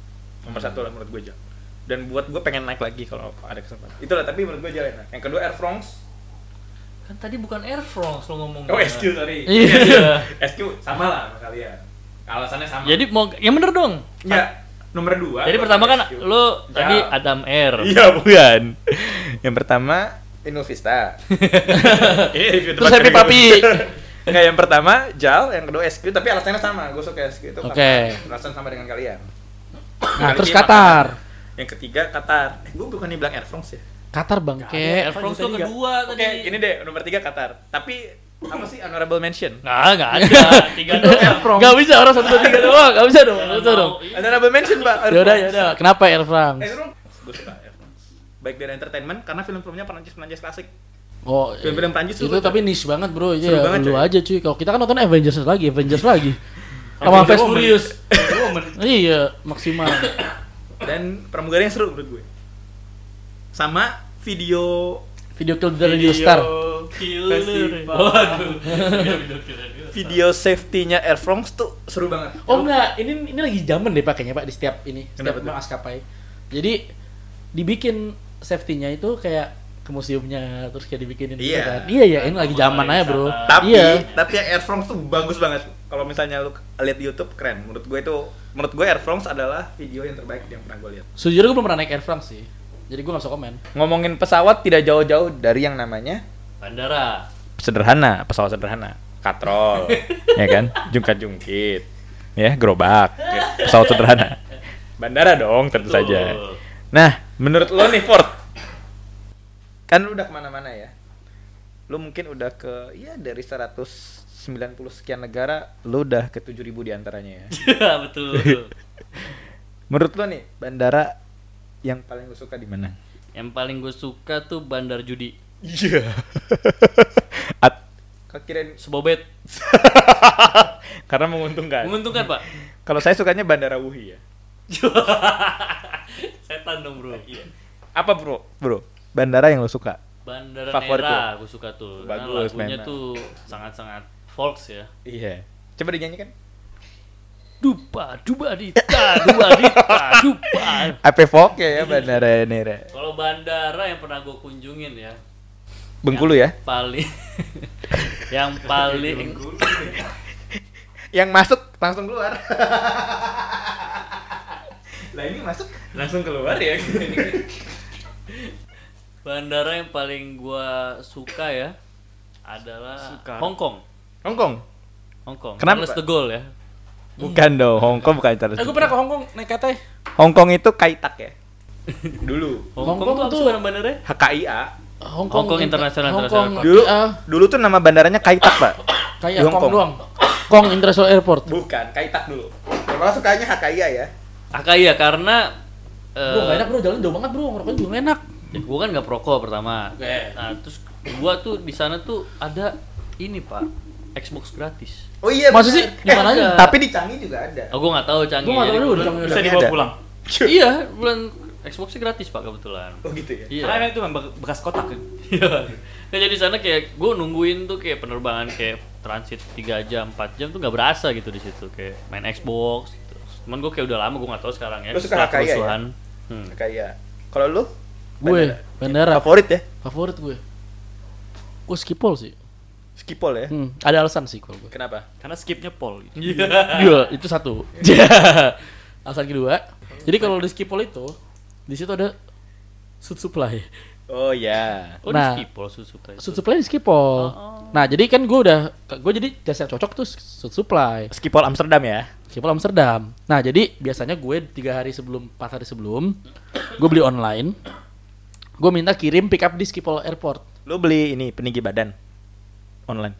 B: Nomor satu lah menurut gue Jal. Dan buat gue pengen naik lagi kalau ada kesempatan. Itulah tapi menurut gue Jal enak. Yang kedua Air France.
C: Kan tadi bukan Air France lo ngomong.
B: Oh SQ sorry.
C: Iya.
B: SQ sama lah sama kalian. Alasannya sama.
C: Jadi mau yang bener dong.
B: ya nomor dua.
C: Jadi
B: gua
C: pertama
B: pakai
C: kan
B: SQ.
C: lo
B: Jal.
C: tadi
A: Ya.
C: Adam Air.
B: Iya bukan. yang pertama Inul Vista. Ini review
A: Terus
B: tempat
A: Happy
B: kerja gua.
A: Papi.
B: Enggak yang pertama Jal, yang kedua SQ tapi alasannya sama. Gue suka SQ itu.
A: Oke.
B: karena Alasan sama dengan kalian.
A: Nah,
B: Kali
A: terus
B: dia
A: Qatar.
B: makan. Yang ketiga Qatar. Eh, gue bukan bilang Air France ya.
A: Qatar
C: Air
A: bangke.
C: France
B: Tadi
C: tuh
B: nggak.
C: kedua
B: Oke,
C: tadi.
B: ini deh nomor tiga Qatar. Tapi apa sih honorable mention?
C: Nggak, nggak ada. Tiga doang.
A: Gak bisa orang satu dua tiga doang, gak bisa dong,
C: Jangan
A: gak bisa dong.
C: mau.
B: Honorable mention, Pak. Air
A: Iya. Yaudah,
B: France.
A: yaudah. ya Kenapa Air France?
B: Air France. Gue suka Air France. Baik dari entertainment karena film-filmnya Perancis-Perancis klasik.
A: Oh,
B: Film-film Prancis
A: itu
B: seru, coy.
A: tapi niche banget bro,
B: Seru
A: iya lu
B: banget, coy. Iya.
A: aja cuy. Kalau kita kan nonton Avengers lagi, Avengers lagi, sama Fast Furious. Iya, maksimal.
B: dan pramugari yang seru menurut gue sama video
A: Video Kill the Radio Star.
C: Killer.
B: Festival.
C: Waduh. Iya, bener, killer.
B: video safety-nya Air France tuh seru banget
A: Oh enggak, ini ini lagi zaman deh pakainya Pak di setiap ini, setiap
B: Kenapa tuh?
A: maskapai. Jadi dibikin safety-nya itu kayak ke museumnya terus kayak dibikinin gitu
B: Iya.
A: kan. Iya, iya, ini lagi zaman aja, Bro.
B: tapi
A: iya.
B: tapi yang Air France tuh bagus banget kalau misalnya lu lihat di YouTube keren menurut gue itu menurut gue Air France adalah video yang terbaik yang pernah gue lihat
A: Sejujurnya gue belum pernah naik Air France sih. Jadi gue gak bisa komen.
B: ngomongin pesawat tidak jauh-jauh dari yang namanya
C: Bandara.
B: sederhana pesawat sederhana katrol ya kan jungkat-jungkit ya gerobak pesawat sederhana bandara dong tentu
C: Betul.
B: saja Nah, menurut lo nih Ford, kan lu udah kemana-mana ya? Lu mungkin udah ke, ya dari 190 sekian negara, lu udah ke 7000 diantaranya ya.
C: Iya, betul. betul.
B: Menurut lo nih, bandara yang paling lu suka di mana?
C: Yang paling gue suka tuh Bandar Judi.
B: Iya. At- Kau kirain
C: Sebobet.
B: karena menguntungkan.
C: Menguntungkan, Pak.
B: Kalau saya sukanya bandara Wuhan ya.
C: Setan dong, Bro.
B: Apa bro? Bro, bandara yang lu suka?
C: Bandara
B: Favorit
C: Nera gue suka tuh. Karena
B: Bagus,
C: lagunya
B: memang.
C: tuh sangat-sangat folks ya.
B: Iya. Coba dinyanyikan.
C: Dupa, dupa dita, dupa dita, dupa.
B: Apa Fok ya, ya bandara Nera?
C: Kalau bandara yang pernah gue kunjungin ya,
B: Bengkulu ya?
C: paling yang paling
B: Yang masuk langsung keluar. Lah ini masuk langsung keluar ya.
C: Bandara yang paling gua suka ya adalah
D: Suka.
C: Hong Kong.
B: Hong Kong.
C: Hong Kong.
B: Kenapa?
C: Charles de Gaulle ya.
B: Bukan dong, Hong Kong bukan Charles.
A: Eh, gue pernah ke Hongkong naik KT.
B: Hong Kong itu Kaitak ya. Dulu
A: Hong
C: Hong, Kong,
A: Kong
C: tuh apa
A: tuh-
C: sih bandara-bandaranya?
B: HKIA.
A: Hongkong
C: Hongkong International Airport.
B: Dulu dulu tuh nama bandaranya Kaitak, Pak.
A: ah, kayak
B: Di
A: Hong Kong
B: Hongkong.
A: doang. Kong International Airport.
B: Bukan, Kaitak dulu. Ya, malah sukanya HKIA ya.
C: Akaya Ah, iya, karena eh,
A: Bro, gak enak bro, jalan jauh banget bro, ngerokok juga gak enak.
C: gua kan nggak perokok pertama.
A: Oke.
C: Nah, terus gua tuh di sana tuh ada ini, Pak. Xbox gratis.
B: Oh iya.
A: Maksud sih,
B: bener.
A: di mananya?
C: ada.
B: Tapi di Canggih juga ada.
C: Oh, gua nggak tahu canggih.
A: Gue gak tau
C: jadi
A: dulu,
C: gua-
A: jangan
D: Bisa
B: Tapi
D: dibawa
B: ada.
D: pulang.
C: Iya, bulan Xbox gratis, Pak, kebetulan.
B: Oh gitu ya.
C: Iya.
D: Karena itu kan be- bekas kotak kan.
C: Iya. Nah, jadi sana kayak gue nungguin tuh kayak penerbangan kayak transit 3 jam, 4 jam tuh nggak berasa gitu di situ kayak main Xbox gitu. Cuman gue kayak udah lama gue nggak tahu sekarang ya.
B: Lu suka
C: setelah
B: HKI ya?
C: kerusuhan. Hmm.
B: HKIA. Kalau lu
A: Gue, bandara.
B: favorit ya?
A: Favorit gue. Gue skipol sih.
B: Skipol ya.
A: Hmm, ada alasan sih kalau gue.
B: Kenapa?
D: Karena skipnya pol. gitu.
A: Iya, itu satu. alasan kedua. Jadi kalau di skipol itu, di situ ada Sud supply.
B: Oh ya.
C: Oh,
A: Nah.
C: di skip loh susu tadi.
A: Sud supply di skipol. Nah, jadi kan gue udah, gue jadi jasa yang cocok tuh Sud supply.
B: Skipol Amsterdam ya.
A: Skipol Amsterdam. Nah jadi biasanya gue tiga hari sebelum, empat hari sebelum, gue beli online. Gue minta kirim pick up di Skipol Airport.
B: Lu beli ini peninggi badan online.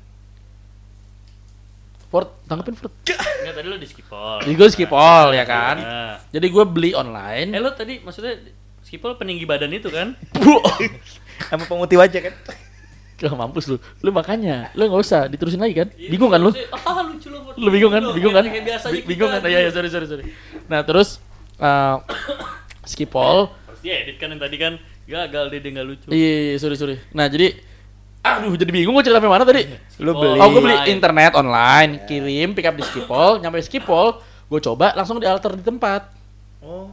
A: Ford, tanggepin Ford.
C: Enggak tadi lo di skipol.
A: Jadi gue Skipol ya kan.
C: Nah.
A: Jadi gue beli
C: Eh
A: online.
C: lo tadi maksudnya skipol peninggi badan itu kan?
B: Sama pemutih wajah kan.
A: Gak mampus lu. Lu makanya, lu nggak usah diterusin lagi kan?
B: Iya,
A: Bingung kan lu?
C: Ah lucu lo. Ford.
A: Lu bingung kan?
C: Lu
A: Bingung kan?
C: kayak- Kayak biasa
A: Bi- Bingung kan? Ya ya sorry sorry sorry. Nah terus eh, Skipol.
C: Pasti edit kan yang tadi kan gagal dia dia nggak lucu.
A: Iya iya, sorry sorry. Nah jadi, aduh jadi bingung gue cerita sampai mana
C: Iya.
A: tadi?
B: Lu
C: Skipol.
B: beli
A: Oh, gue beli
C: Online.
A: internet
C: Iya.
A: online, kirim pick up di Skipol, nyampe Skipol, gue coba langsung dialter di tempat.
B: Oh.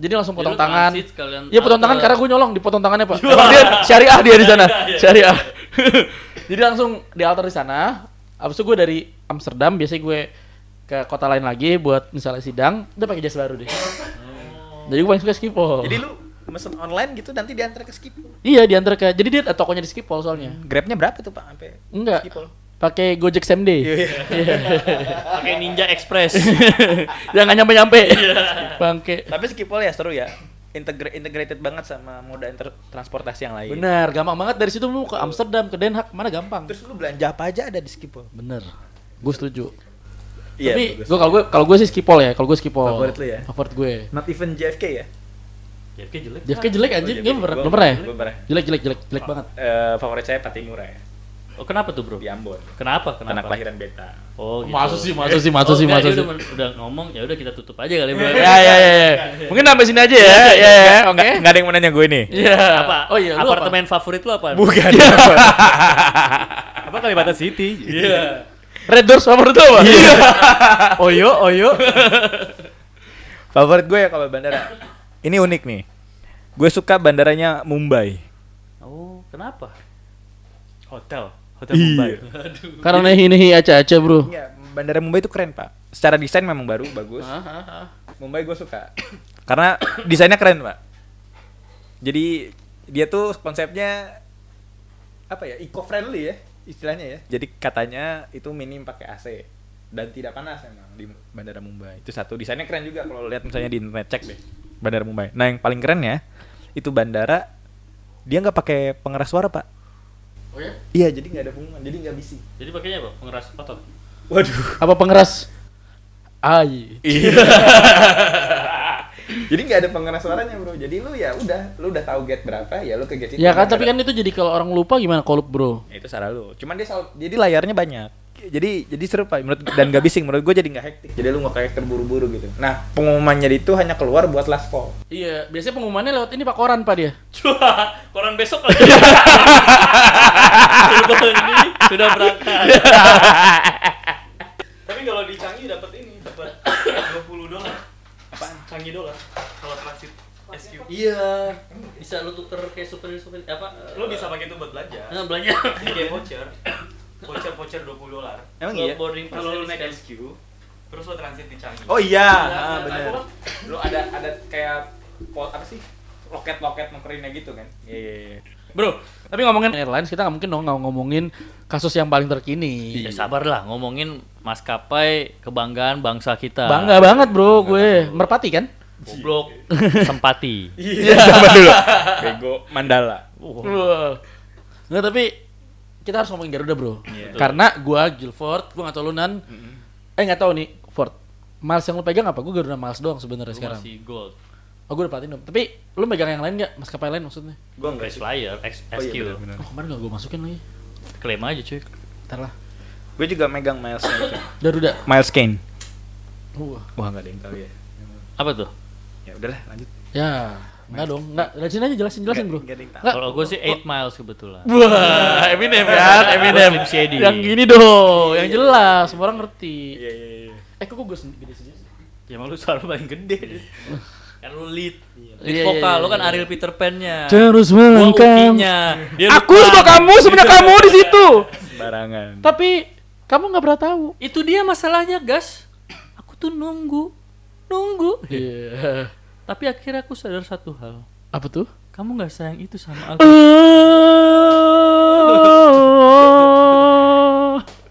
A: Jadi langsung
C: Jadi
A: potong
C: Ya, lu
A: tangan.
C: transit sekalian
A: Iya potong
C: alter.
A: tangan karena gue nyolong di potong tangannya pak. Emang dia syariah dia di sana,
C: Syariah, iya.
A: syariah. Jadi langsung dialter di sana. Abis itu gue dari Amsterdam biasanya gue ke kota lain lagi buat misalnya sidang, udah pakai jas baru deh.
C: Oh.
A: Jadi gue paling suka Skipol.
B: Jadi lu mesen online gitu nanti diantar ke Skipol.
A: Iya diantar ke, jadi dia ada tokonya di Skipol soalnya.
B: Grabnya berapa tuh Pak sampai
A: Enggak,
B: Skipol?
A: pakai Gojek same day.
B: Iya.
C: pakai Ninja Express.
A: yang nggak nyampe nyampe
B: Iya.
A: bangke
B: Tapi Skipol ya seru ya. Integra- integrated banget sama moda inter- transportasi yang lain.
A: bener gampang banget dari situ lu ke Amsterdam ke Den Haag mana gampang
B: Terus lu belanja apa aja ada di Skipol?
A: bener gue setuju
B: Iya.
A: tapi
B: bagus.
A: gue kalau gue kalau gue sih skipol ya kalau gue skipol
B: Favorit lu ya?
A: favorit gue
B: Not even JFK ya?
C: JFK jelek.
A: JFK jelek anjir
B: Oh,
A: gue
B: JFK.
A: pernah
B: Gua-
A: belum pernah ya
B: gua pernah.
A: jelek jelek jelek jelek banget
B: Eh, favorit saya Patimura ya.
C: Oh kenapa tuh bro?
B: Di Ambon. Anak
C: Kenapa? Kenapa?
B: kelahiran Beta.
C: Oh,
A: Masuk sih, masuk sih, masuk sih,
C: enggak,
A: masuk
C: dia
A: sih.
C: Udah, men- udah ngomong, ya udah kita tutup aja kali bro.
A: ya ya ya ya. mungkin sampai sini aja ya ya ya oke
B: Nggak ada yang mau nanya gue nih.
A: Iya.
C: Apa?
A: Oh iya, lu apa?
C: apartemen favorit lu apa?
B: Bukan.
D: Apa Kalibata City?
C: Iya.
A: Red Doors favorit lu apa?
B: Iya.
D: Oyo, oyo.
B: Favorit gue ya kalau bandara. Ini unik nih. Gue suka bandaranya Mumbai.
C: Oh, kenapa?
D: Hotel, Hotel
C: Iya.
D: Mumbai.
A: Karena ini ini aca aca bro.
B: Iya, bandara Mumbai itu keren, Pak. Secara desain memang baru, bagus. Mumbai gue suka. Karena desainnya keren, Pak. Jadi dia tuh konsepnya apa ya? Eco friendly ya istilahnya ya. Jadi katanya itu minim pakai AC dan tidak panas emang di bandara Mumbai. Itu satu desainnya keren juga kalau lihat misalnya di internet cek deh bandara Mumbai. Nah, yang paling keren ya itu bandara dia nggak pakai pengeras suara, Pak.
C: Oh ya?
B: Iya, jadi nggak ada bunga, jadi nggak bising.
C: Jadi pakainya apa? Pengeras otot.
B: Waduh.
A: Apa pengeras? Ai.
B: Iya. jadi nggak ada pengeras suaranya bro jadi lu ya udah lu udah tahu gate berapa ya lu ke gate itu
A: Ya kan tapi kan itu jadi kalau orang lupa gimana kolup bro?
B: Ya, itu salah lu cuman dia selalu, jadi layarnya banyak jadi jadi seru pak menurut dan gak bising menurut gue jadi nggak hektik jadi lu nggak kayak terburu-buru gitu nah pengumumannya itu hanya keluar buat last call
A: Iya, biasanya pengumumannya lewat ini Pak Koran Pak dia.
C: Cua, koran besok lagi. Sudah ini sudah berangkat.
D: Tapi kalau di Canggih dapat ini, dapat 20 dolar. Apaan? Canggih dolar. Kalau transit SQ.
C: Iya. Bisa lu tuker kayak super super apa?
D: Lo bisa pakai itu buat belanja.
C: Nah, belanja.
D: Kayak voucher. Voucher voucher 20 dolar.
B: emang
C: Lu
B: iya
C: Boarding pass
D: Kalau lo
C: dari
D: naik
C: sekarang.
D: SQ, terus lo transit di Canggih.
B: oh iya ah, benar
D: Lo
B: lu ada ada kayak pot apa sih loket-loket mengkerinnya gitu kan iya
D: Eh,
B: iya iya
A: Bro, tapi ngomongin Kan airlines kita nggak mungkin dong nggak ngomongin kasus yang paling terkini.
C: Ya sabar lah ngomongin maskapai kebanggaan bangsa kita.
A: Bangga banget bro, gue merpati kan?
C: Goblok. Sempati.
B: iya coba dulu bego mandala
A: Nggak tapi kita harus ngomongin Garuda bro,
B: Iya.
A: karena gue Guilford, gue nggak tau lu Nan. eh nggak tau nih Ford. Miles yang lu pegang apa? Gue Garuda Miles doang sebenarnya
C: Lu
A: sekarang.
C: masih gold.
A: Oh gue udah platinum. Tapi lu megang yang lain nggak? Maskapai lain maksudnya?
B: gua enggak
C: Best flyer, X-
B: Oh iya,
C: SQ.
B: benar-benar.
A: Oh kemarin nggak gue masukin lagi.
C: Klaim aja cuy.
A: Ntar lah.
B: gue juga megang Miles Kane itu.
A: Garuda.
B: Miles Kane
A: Wah.
B: wah nggak ada yang tahu ya
C: Apa tuh?
B: ya udahlah lanjut
A: Ya. Nggak dong. Nggak. Jelasin aja jelasin jelasin bro.
B: nggak ada yang tahu
A: Nggak.
C: Kalau gue sih 8 miles kebetulan.
A: Wah, Eminem kan, Eminem.
C: Slim Shady.
A: Yang gini dong, yang jelas, semua orang ngerti.
B: iya iya iya
A: Eh, kok gue sendiri gede sendiri? sih?
C: Ya malu suara paling gede. kan lu lead. Lead
A: Iya, iya,
C: vokal,
A: iya,
C: lu kan
A: iya.
C: Ariel Peter Pan-nya.
A: Terus
C: Gua Iya.
A: melengkap.
C: Uki-nya. Dia
A: Aku
C: depan.
A: sama kamu sebenarnya kamu di situ.
B: sembarangan
A: Tapi kamu nggak pernah tahu.
C: Itu dia masalahnya, Gas. Aku tuh nunggu. Nunggu.
A: Iya.
C: Tapi akhirnya aku sadar satu hal.
A: Apa tuh?
C: Kamu nggak sayang itu sama aku.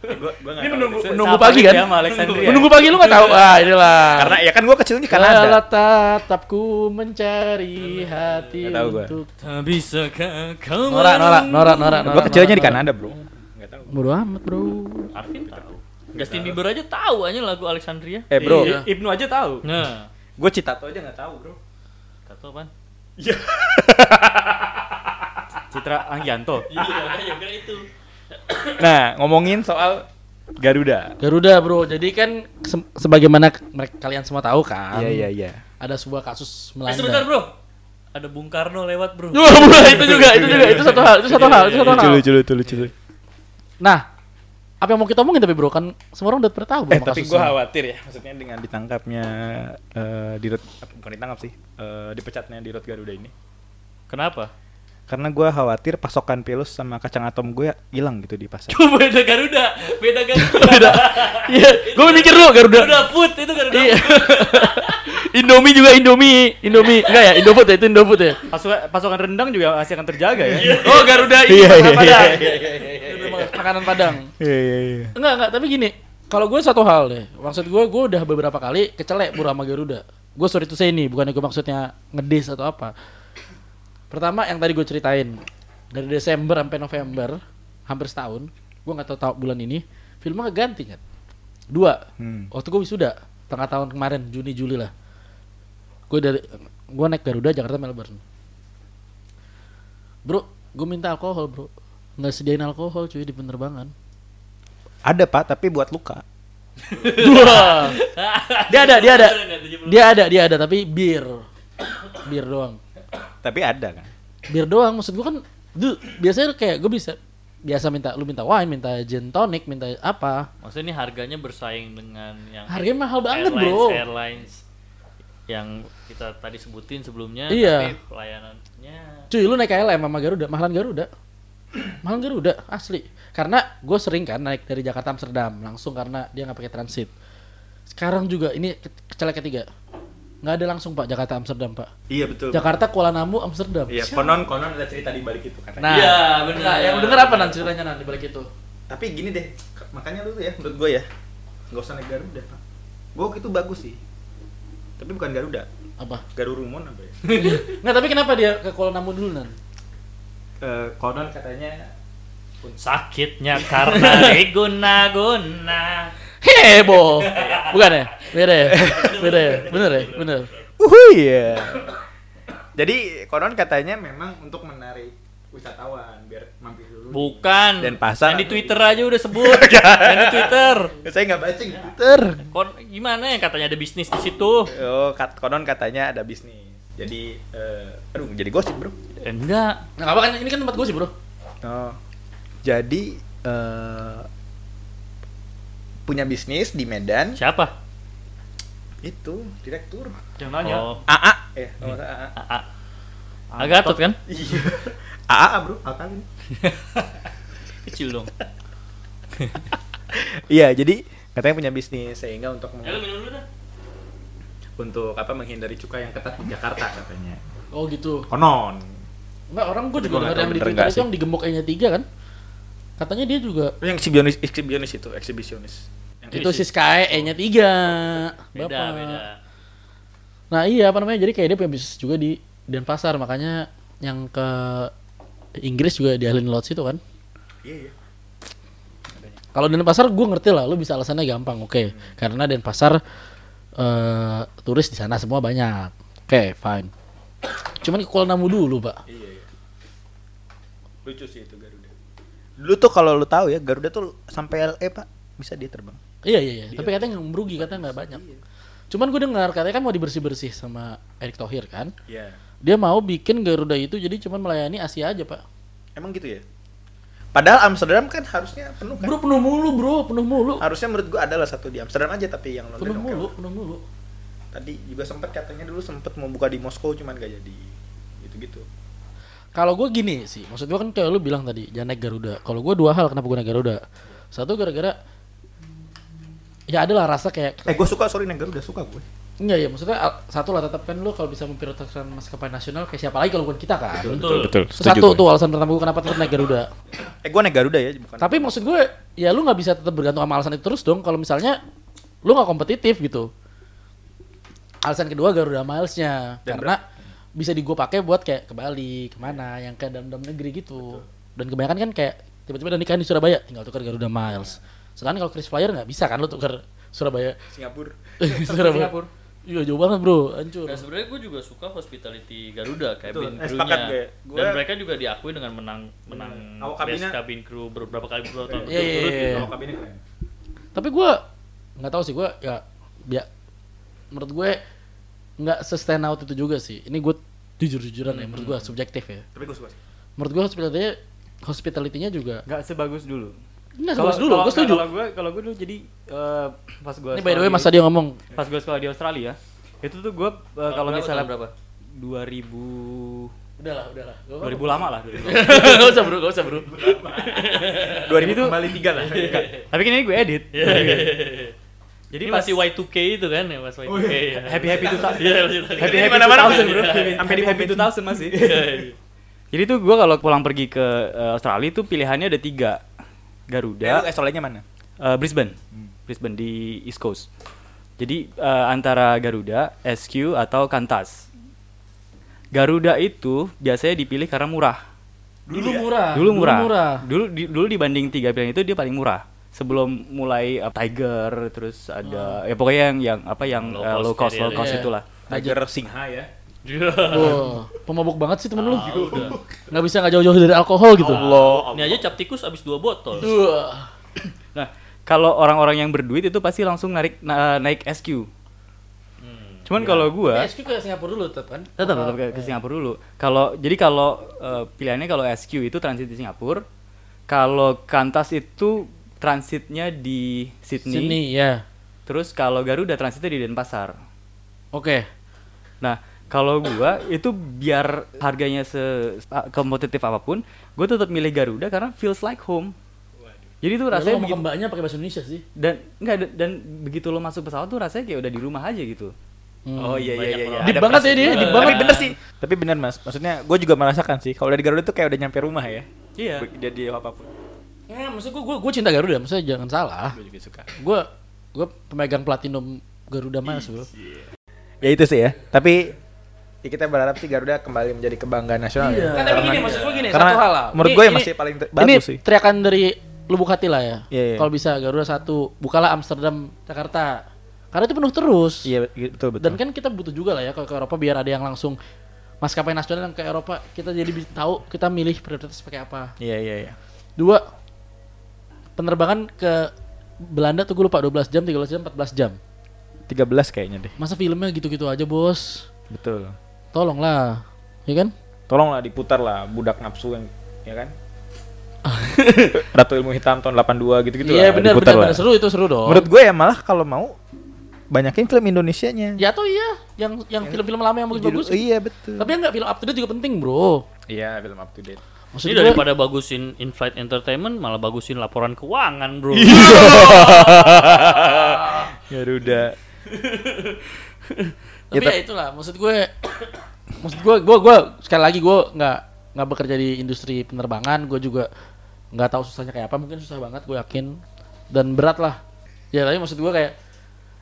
B: gue gue nggak
A: Ini
B: tahu
A: menunggu
B: deh.
A: menunggu
D: Sama
A: pagi
D: dia
A: kan?
D: sama Alexandria.
A: Menunggu pagi lu nggak tahu. Ah, inilah.
B: karena ya kan gue kecilnya di
A: Kalau
B: Kanada
A: tatapku mencari hati
B: Nggak tahu gua.
A: untuk
C: Tak bisa kau- kau
A: Norak, norak, norak, norak.
B: gue kecilnya di Kanada bro nggak tahu
A: Bodo amat, Bro.
C: Arvin tahu. Justin Bieber aja tahu aja lagu Alexandria.
B: eh bro
A: Iya.
D: Ibnu aja tahu.
C: Nah,
B: gue Citato aja nggak tahu bro
C: kata apa? Iya.
D: Citra Anggianto.
C: Iya, kira itu.
B: nah ngomongin soal Garuda
A: Garuda, Bro. Jadi kan se- sebagaimana k- mereka kalian semua tahu kan,
B: iya iya iya
A: ada sebuah kasus
C: Eh,
A: melanda.
C: sebentar, Bro. Ada Bung Karno lewat, Bro.
A: Wah, bro, itu juga, itu juga, itu satu hal, itu satu hal, itu satu
B: Iya, lucu
A: hal.
B: lucu lucu lucu
A: Nah, apa yang mau kita omongin tapi bro kan semua orang udah pernah tahu bro,
B: Eh
A: sama
B: tapi
A: kasusnya.
B: gue khawatir ya, maksudnya dengan ditangkapnya eh di Rut- apa, bukan ditangkap sih, eh, dipecatnya di Rut Garuda ini.
C: Kenapa?
B: Karena gue khawatir pasokan pilus sama kacang atom gue hilang gitu di pasar.
C: beda Garuda, beda Garuda. beda.
A: Iya, gue mikir dulu Garuda.
C: Garuda Food itu Garuda.
A: Iya. Indomie juga Indomie, Indomie. Enggak ya, Indofood ya, itu Indofood ya.
D: Pasokan, pasokan rendang juga masih akan terjaga ya.
A: Oh, Garuda ini
B: Iya,
A: makanan
B: iya, iya,
A: Padang. Itu memang Makanan Padang.
B: Iya iya iya.
A: Enggak, enggak, tapi gini, kalau gue satu hal deh. Maksud gue, gue udah beberapa kali kecelek pura sama Garuda. Gue sorry to say ini, bukan gue maksudnya ngedis atau apa. Pertama yang tadi gue ceritain, dari Desember sampai November, hampir setahun, gue nggak tahu tahu bulan ini, filmnya ganti kan. Dua,
B: Hmm.
A: waktu gue wisuda, tengah tahun kemarin, Juni Juli lah. Gue dari gue naik Garuda Jakarta Melbourne. Bro, gue minta alkohol bro, nggak sediain alkohol cuy di penerbangan.
B: Ada pak, tapi buat luka.
A: Dua. dia ada, dia ada. Dia ada, dia ada tapi bir. Bir doang.
B: Tapi ada kan.
A: Bir doang maksud gua kan duh, biasanya kayak gue bisa biasa minta lu minta wine, minta gin tonic, minta apa.
C: Maksudnya ini harganya bersaing dengan yang
A: Harganya mahal banget,
C: airlines,
A: Bro.
C: Airlines yang kita tadi sebutin sebelumnya
A: Iya.
C: tapi pelayanannya
A: Cuy, lu naik KLM sama Garuda, mahalan Garuda. Mahalan Garuda, asli. Karena gue sering kan naik dari Jakarta Amsterdam langsung karena dia nggak pakai transit. Sekarang juga ini ke- kecelek ketiga. Nggak ada langsung Pak Jakarta Amsterdam, Pak.
B: Iya betul.
A: Jakarta Kuala Namu Amsterdam.
B: konon konon ada cerita di balik itu katanya.
A: Nah,
C: Iya, benar.
A: Nah, yang lu denger apa nan ceritanya nan di balik itu?
B: Tapi gini deh, k- makanya lu tuh ya, menurut gue ya, nggak usah naik Garuda pak. Gue itu bagus sih, tapi bukan Garuda.
A: Apa?
B: Garurumon apa ya?
A: Nggak, tapi kenapa dia ke Kuala Namu dulu, Nan?
B: Eh, konon katanya
C: sakitnya karena diguna-guna.
A: Heboh. Bukan ya? Beda ya? Beda ya? Bener ya? Bener.
B: Uhuy ya. Jadi konon katanya memang untuk menarik wisatawan biar mampir dulu.
C: Bukan.
B: Dan pasar.
C: Yang di Twitter aja udah sebut. yang di Twitter.
B: Ya, Saya nggak baca gitu. di Twitter.
C: Kon gimana ya katanya ada bisnis di situ?
B: Oh, kat- konon katanya ada bisnis. Jadi, eh, aduh, jadi gosip bro.
C: Eh, Enggak.
A: Nah, apa kan ini kan tempat gue sih, Bro.
B: Oh. Jadi eh, punya bisnis di Medan
C: Siapa?
B: itu direktur.
D: Yang nanya.
C: Oh,
B: AA eh oh, AA.
C: AA. Agatot kan?
B: Iya. AA bro, kan? apa ini?
C: Kecil dong.
B: Iya, jadi katanya punya bisnis sehingga untuk meng-
C: minum dulu dah.
B: untuk apa menghindari cukai yang ketat di Jakarta katanya.
A: Oh gitu.
B: Konon.
A: Enggak, orang gue
B: Gua
A: juga dengar
B: nggak tahu
A: yang di
B: bener
A: Twitter
B: nggak
A: itu
B: sih.
A: yang digembok nya tiga kan? Katanya dia juga
B: Yang eh, ekshibionis, ekshibionis itu, ekshibionis. Yang
A: itu si Sky E-nya tiga.
C: Beda,
A: Bapak.
C: beda.
A: Nah iya apa namanya jadi kayak dia punya bisnis juga di Denpasar makanya yang ke Inggris juga dialin lot situ kan.
B: Iya, iya.
A: Kalau Denpasar gue ngerti lah, lu bisa alasannya gampang, oke.
B: Hmm.
A: Karena Denpasar eh turis di sana semua banyak, oke fine. Cuman ke Kuala Namu dulu pak.
B: Iya, iya. Lucu sih itu Garuda. Dulu tuh kalau lu tahu ya Garuda tuh sampai LE pak bisa dia terbang.
A: Iya iya, iya. tapi katanya nggak merugi, katanya nggak banyak. Cuman gue dengar katanya kan mau dibersih bersih sama Erick Thohir kan.
B: Iya.
A: Dia mau bikin Garuda itu jadi cuman melayani Asia aja pak.
B: Emang gitu ya. Padahal Amsterdam kan harusnya penuh kan.
A: Bro penuh mulu bro, penuh mulu,
B: Harusnya menurut gua adalah satu di Amsterdam aja tapi yang London
A: penuh
B: oke
A: mulu,
B: lah.
A: penuh mulu.
B: Tadi juga sempat katanya dulu sempat mau buka di Moskow cuman gak jadi. Gitu-gitu.
A: Kalau gue gini sih, maksud gue kan kayak lu bilang tadi, jangan naik Garuda. Kalau gue dua hal kenapa gue naik Garuda. Satu gara-gara ya adalah rasa kayak
B: Eh gua suka sorry naik Garuda suka gue.
A: enggak ya maksudnya al- satu lah tetap kan lu kalau bisa memprioritaskan maskapai nasional kayak siapa lagi kalau bukan kita kan.
C: Betul.
E: Betul.
A: Itu Satu tuh alasan pertama gue kenapa tetap naik Garuda.
B: Eh gua naik Garuda ya bukan.
A: Tapi maksud gue ya lu nggak bisa tetap bergantung sama alasan itu terus dong kalau misalnya lu nggak kompetitif gitu. Alasan kedua Garuda Miles-nya
B: Dan
A: karena bisa di gue pakai buat kayak ke Bali, kemana yang ke dalam-dalam negeri gitu. Dan kebanyakan kan kayak tiba-tiba ada nikahan di Surabaya tinggal tukar Garuda Miles. Sedangkan kalau Chris Flyer nggak bisa kan lu tukar Surabaya.
B: Singapura.
A: Surabaya. Iya jauh banget bro, hancur.
C: Dan sebenarnya gue juga suka hospitality Garuda
B: Betul.
C: cabin
B: Eh,
C: crew-nya.
B: sepakat gue. Gue-
C: Dan mereka juga diakui dengan menang menang
B: Awak
C: best
B: kabinnya-
C: cabin crew beberapa kali beberapa
A: Iya,
C: tahun
A: iya,
C: berturut-turut
A: iya,
C: gitu.
A: iya.
B: Kalau kabinnya keren.
A: Tapi gue nggak tahu sih gue ya, ya menurut gue nggak sustain out itu juga sih. Ini gue jujur-jujuran ya menurut gue subjektif ya.
B: Tapi gua suka sih.
A: Menurut gue hospitality hospitality-nya juga
D: Nggak sebagus dulu.
A: Nggak
D: Kalau-
A: sebagus dulu,
D: kalau-
A: gue setuju.
D: Kalau gue kalau gue dulu jadi eh, pas gue
A: Ini by the way Mas Sadio ngomong
D: pas gue sekolah di Australia itu tuh gue
C: Tahun
D: kalau
C: berapa,
D: misalnya
C: tahun berapa?
D: 2000
A: Udahlah, udahlah.
D: 2000 lama lah 2000.
A: Gak usah bro, gak usah bro.
B: 2000 kembali 3 lah. Iya.
D: tapi kan ini gue edit
C: Jadi
D: jadi
C: ini
D: pas Oh,
C: masih Y2K itu kan ya Mas Y2K. ya.
D: happy happy tuh
C: Iya, masih tahu.
D: happy
B: Ini
D: happy
B: mana-mana
D: 2000
B: masih.
D: bro
B: Iya.
D: happy happy 2000 masih
C: iya.
D: jadi tuh gue kalau pulang pergi ke eh, Australia tuh pilihannya ada tiga
A: Ya.
D: Garuda
B: Australia mana?
D: Eh, Brisbane, Brisbane di East Coast. Jadi eh, antara Garuda, SQ atau Qantas. Garuda itu biasanya dipilih karena murah.
A: Ah, Dulu murah.
D: Dulu murah. Dulu Dulu, di- dulu dibanding tiga pilihan itu dia paling murah. Sebelum mulai eh, Tiger, terus ada ya pokoknya yang yang apa yang
C: Low
D: eh, low
C: cost
D: cost,
C: carrier
D: low cost
A: ya.
D: itulah.
B: Tiger Singha ya.
A: Wah, pemabuk banget sih temen lu.
C: Ah, udah.
A: Nggak bisa nggak jauh-jauh dari alkohol gitu.
D: Oh,
C: Ini aja cap tikus abis dua botol.
A: Wah.
D: Nah, kalau orang-orang yang berduit itu pasti langsung narik na- naik SQ. Cuman kalau gua
A: Ini SQ Iya, ke Singapura dulu tetap kan?
D: tetap tetap ke, ke Singapura dulu. Kalau jadi kalau eh, pilihannya kalau SQ itu transit di Singapura, kalau Qantas itu transitnya di Sydney,
A: Sini ya.
D: terus kalau Garuda transitnya di Denpasar.
A: Oke.
D: Nah, kalau gua itu biar harganya se a- kompetitif apapun, gua tetap milih Garuda karena feels like home. Jadi
A: Rasanya
D: tuh rasanya
A: mau
D: begitu-
A: kembaknya pakai bahasa Indonesia sih.
D: dan enggak dan, dan begitu lo masuk pesawat tuh rasanya kayak udah di rumah aja gitu.
B: Oh iya iya iya. iya.
A: Deep banget ya dia, deep banget.
B: Tapi bener sih. Tapi bener mas. Maksudnya gue juga merasakan sih. Kalau dari Garuda tuh kayak udah nyampe rumah ya.
D: Iya.
B: Be- Dia dia apapun.
A: Ya, maksud gua, gua, gua cinta Garuda, maksudnya jangan salah.
B: Gue juga suka.
A: Gua, gua pemegang platinum Garuda Mas bro.
B: Ya itu sih ya. Tapi ya kita berharap sih Garuda kembali menjadi kebanggaan nasional ya.
A: Kan tapi gini, maksud gua gini,
B: Karena
A: satu hal lah.
B: menurut
A: Ini-
B: gue yang
A: ini-
B: masih paling ter-
A: Ini
B: bagus sih.
A: teriakan dari lubuk hati lah ya.
B: Iya, iya.
A: Kalau bisa Garuda satu, bukalah Amsterdam, Jakarta. Karena itu penuh terus.
B: Iya betul betul.
A: Dan kan kita butuh juga lah ya kalau ke Eropa biar ada yang langsung maskapai nasional yang ke Eropa kita jadi bi- tahu kita milih prioritas pakai apa.
B: Iya iya iya.
A: Dua penerbangan ke Belanda tuh gue lupa 12 jam, 13 jam, 14 jam.
B: 13 kayaknya deh.
A: Masa filmnya gitu-gitu aja, Bos?
B: Betul.
A: Tolonglah. Ya kan?
B: Tolonglah diputar lah budak nafsu yang ya kan. Ratu ilmu hitam tahun 82 gitu-gitu
A: Iya,
B: Gitu lah,
A: benar
B: diputar
A: benar
B: lah.
A: benar. seru itu seru dong.
B: Menurut gue ya malah kalau mau banyakin film Indonesianya.
A: ya atau iya yang yang film-film lama yang
B: Judul-
A: bagus-bagus.
B: Iya betul.
A: Tapi yang enggak film up to date juga penting, Bro.
B: Iya film up to date.
A: Maksud
C: Ini
A: gua-
C: daripada bagusin in-flight entertainment malah bagusin laporan
D: Iya.
C: keuangan, Bro.
B: Garuda.
A: tapi
B: Ya,
A: ya, itulah maksud gue maksud gue gue gue sekali lagi gue nggak nggak bekerja di industri penerbangan gue juga nggak tahu susahnya kayak apa mungkin susah banget gue yakin dan berat lah ya tapi maksud gue kayak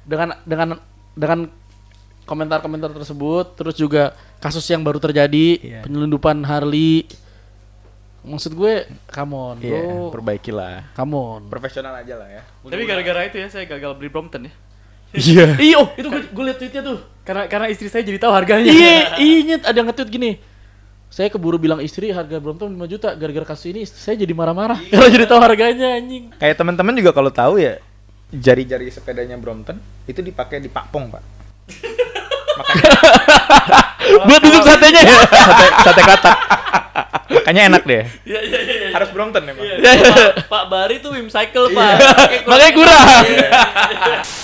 A: dengan dengan dengan komentar-komentar tersebut terus juga kasus yang baru terjadi
B: Iya.
A: penyelundupan Harley maksud gue come on
B: Iya,
A: bro
B: perbaikilah.
A: come on
B: Profesional aja lah ya.
D: Tapi gara-gara itu ya saya gagal beli Brompton ya.
B: Iya.
A: iyo itu gue gue liat tweetnya tuh
D: Karena karena istri saya jadi tahu harganya.
A: Iya, iya Nyet. ada yang nge-tweet gini. Saya keburu bilang istri harga Brompton 5 juta gara-gara kasus ini istri saya jadi marah-marah karena jadi tahu harganya anjing.
B: Kayak teman-teman juga kalau tahu ya jari-jari sepedanya Brompton itu dipakai di Pakpong, Pak.
A: Buat tusuk satenya ya.
B: Sate, sate katak. Makanya enak deh.
C: Iya iya iya. iya.
B: Harus Brompton memang.
D: Iya.
C: Pak, Pak Bari tuh Wim Cycle, Pak. Pakai kurang.
A: Iya. Makanya kurang.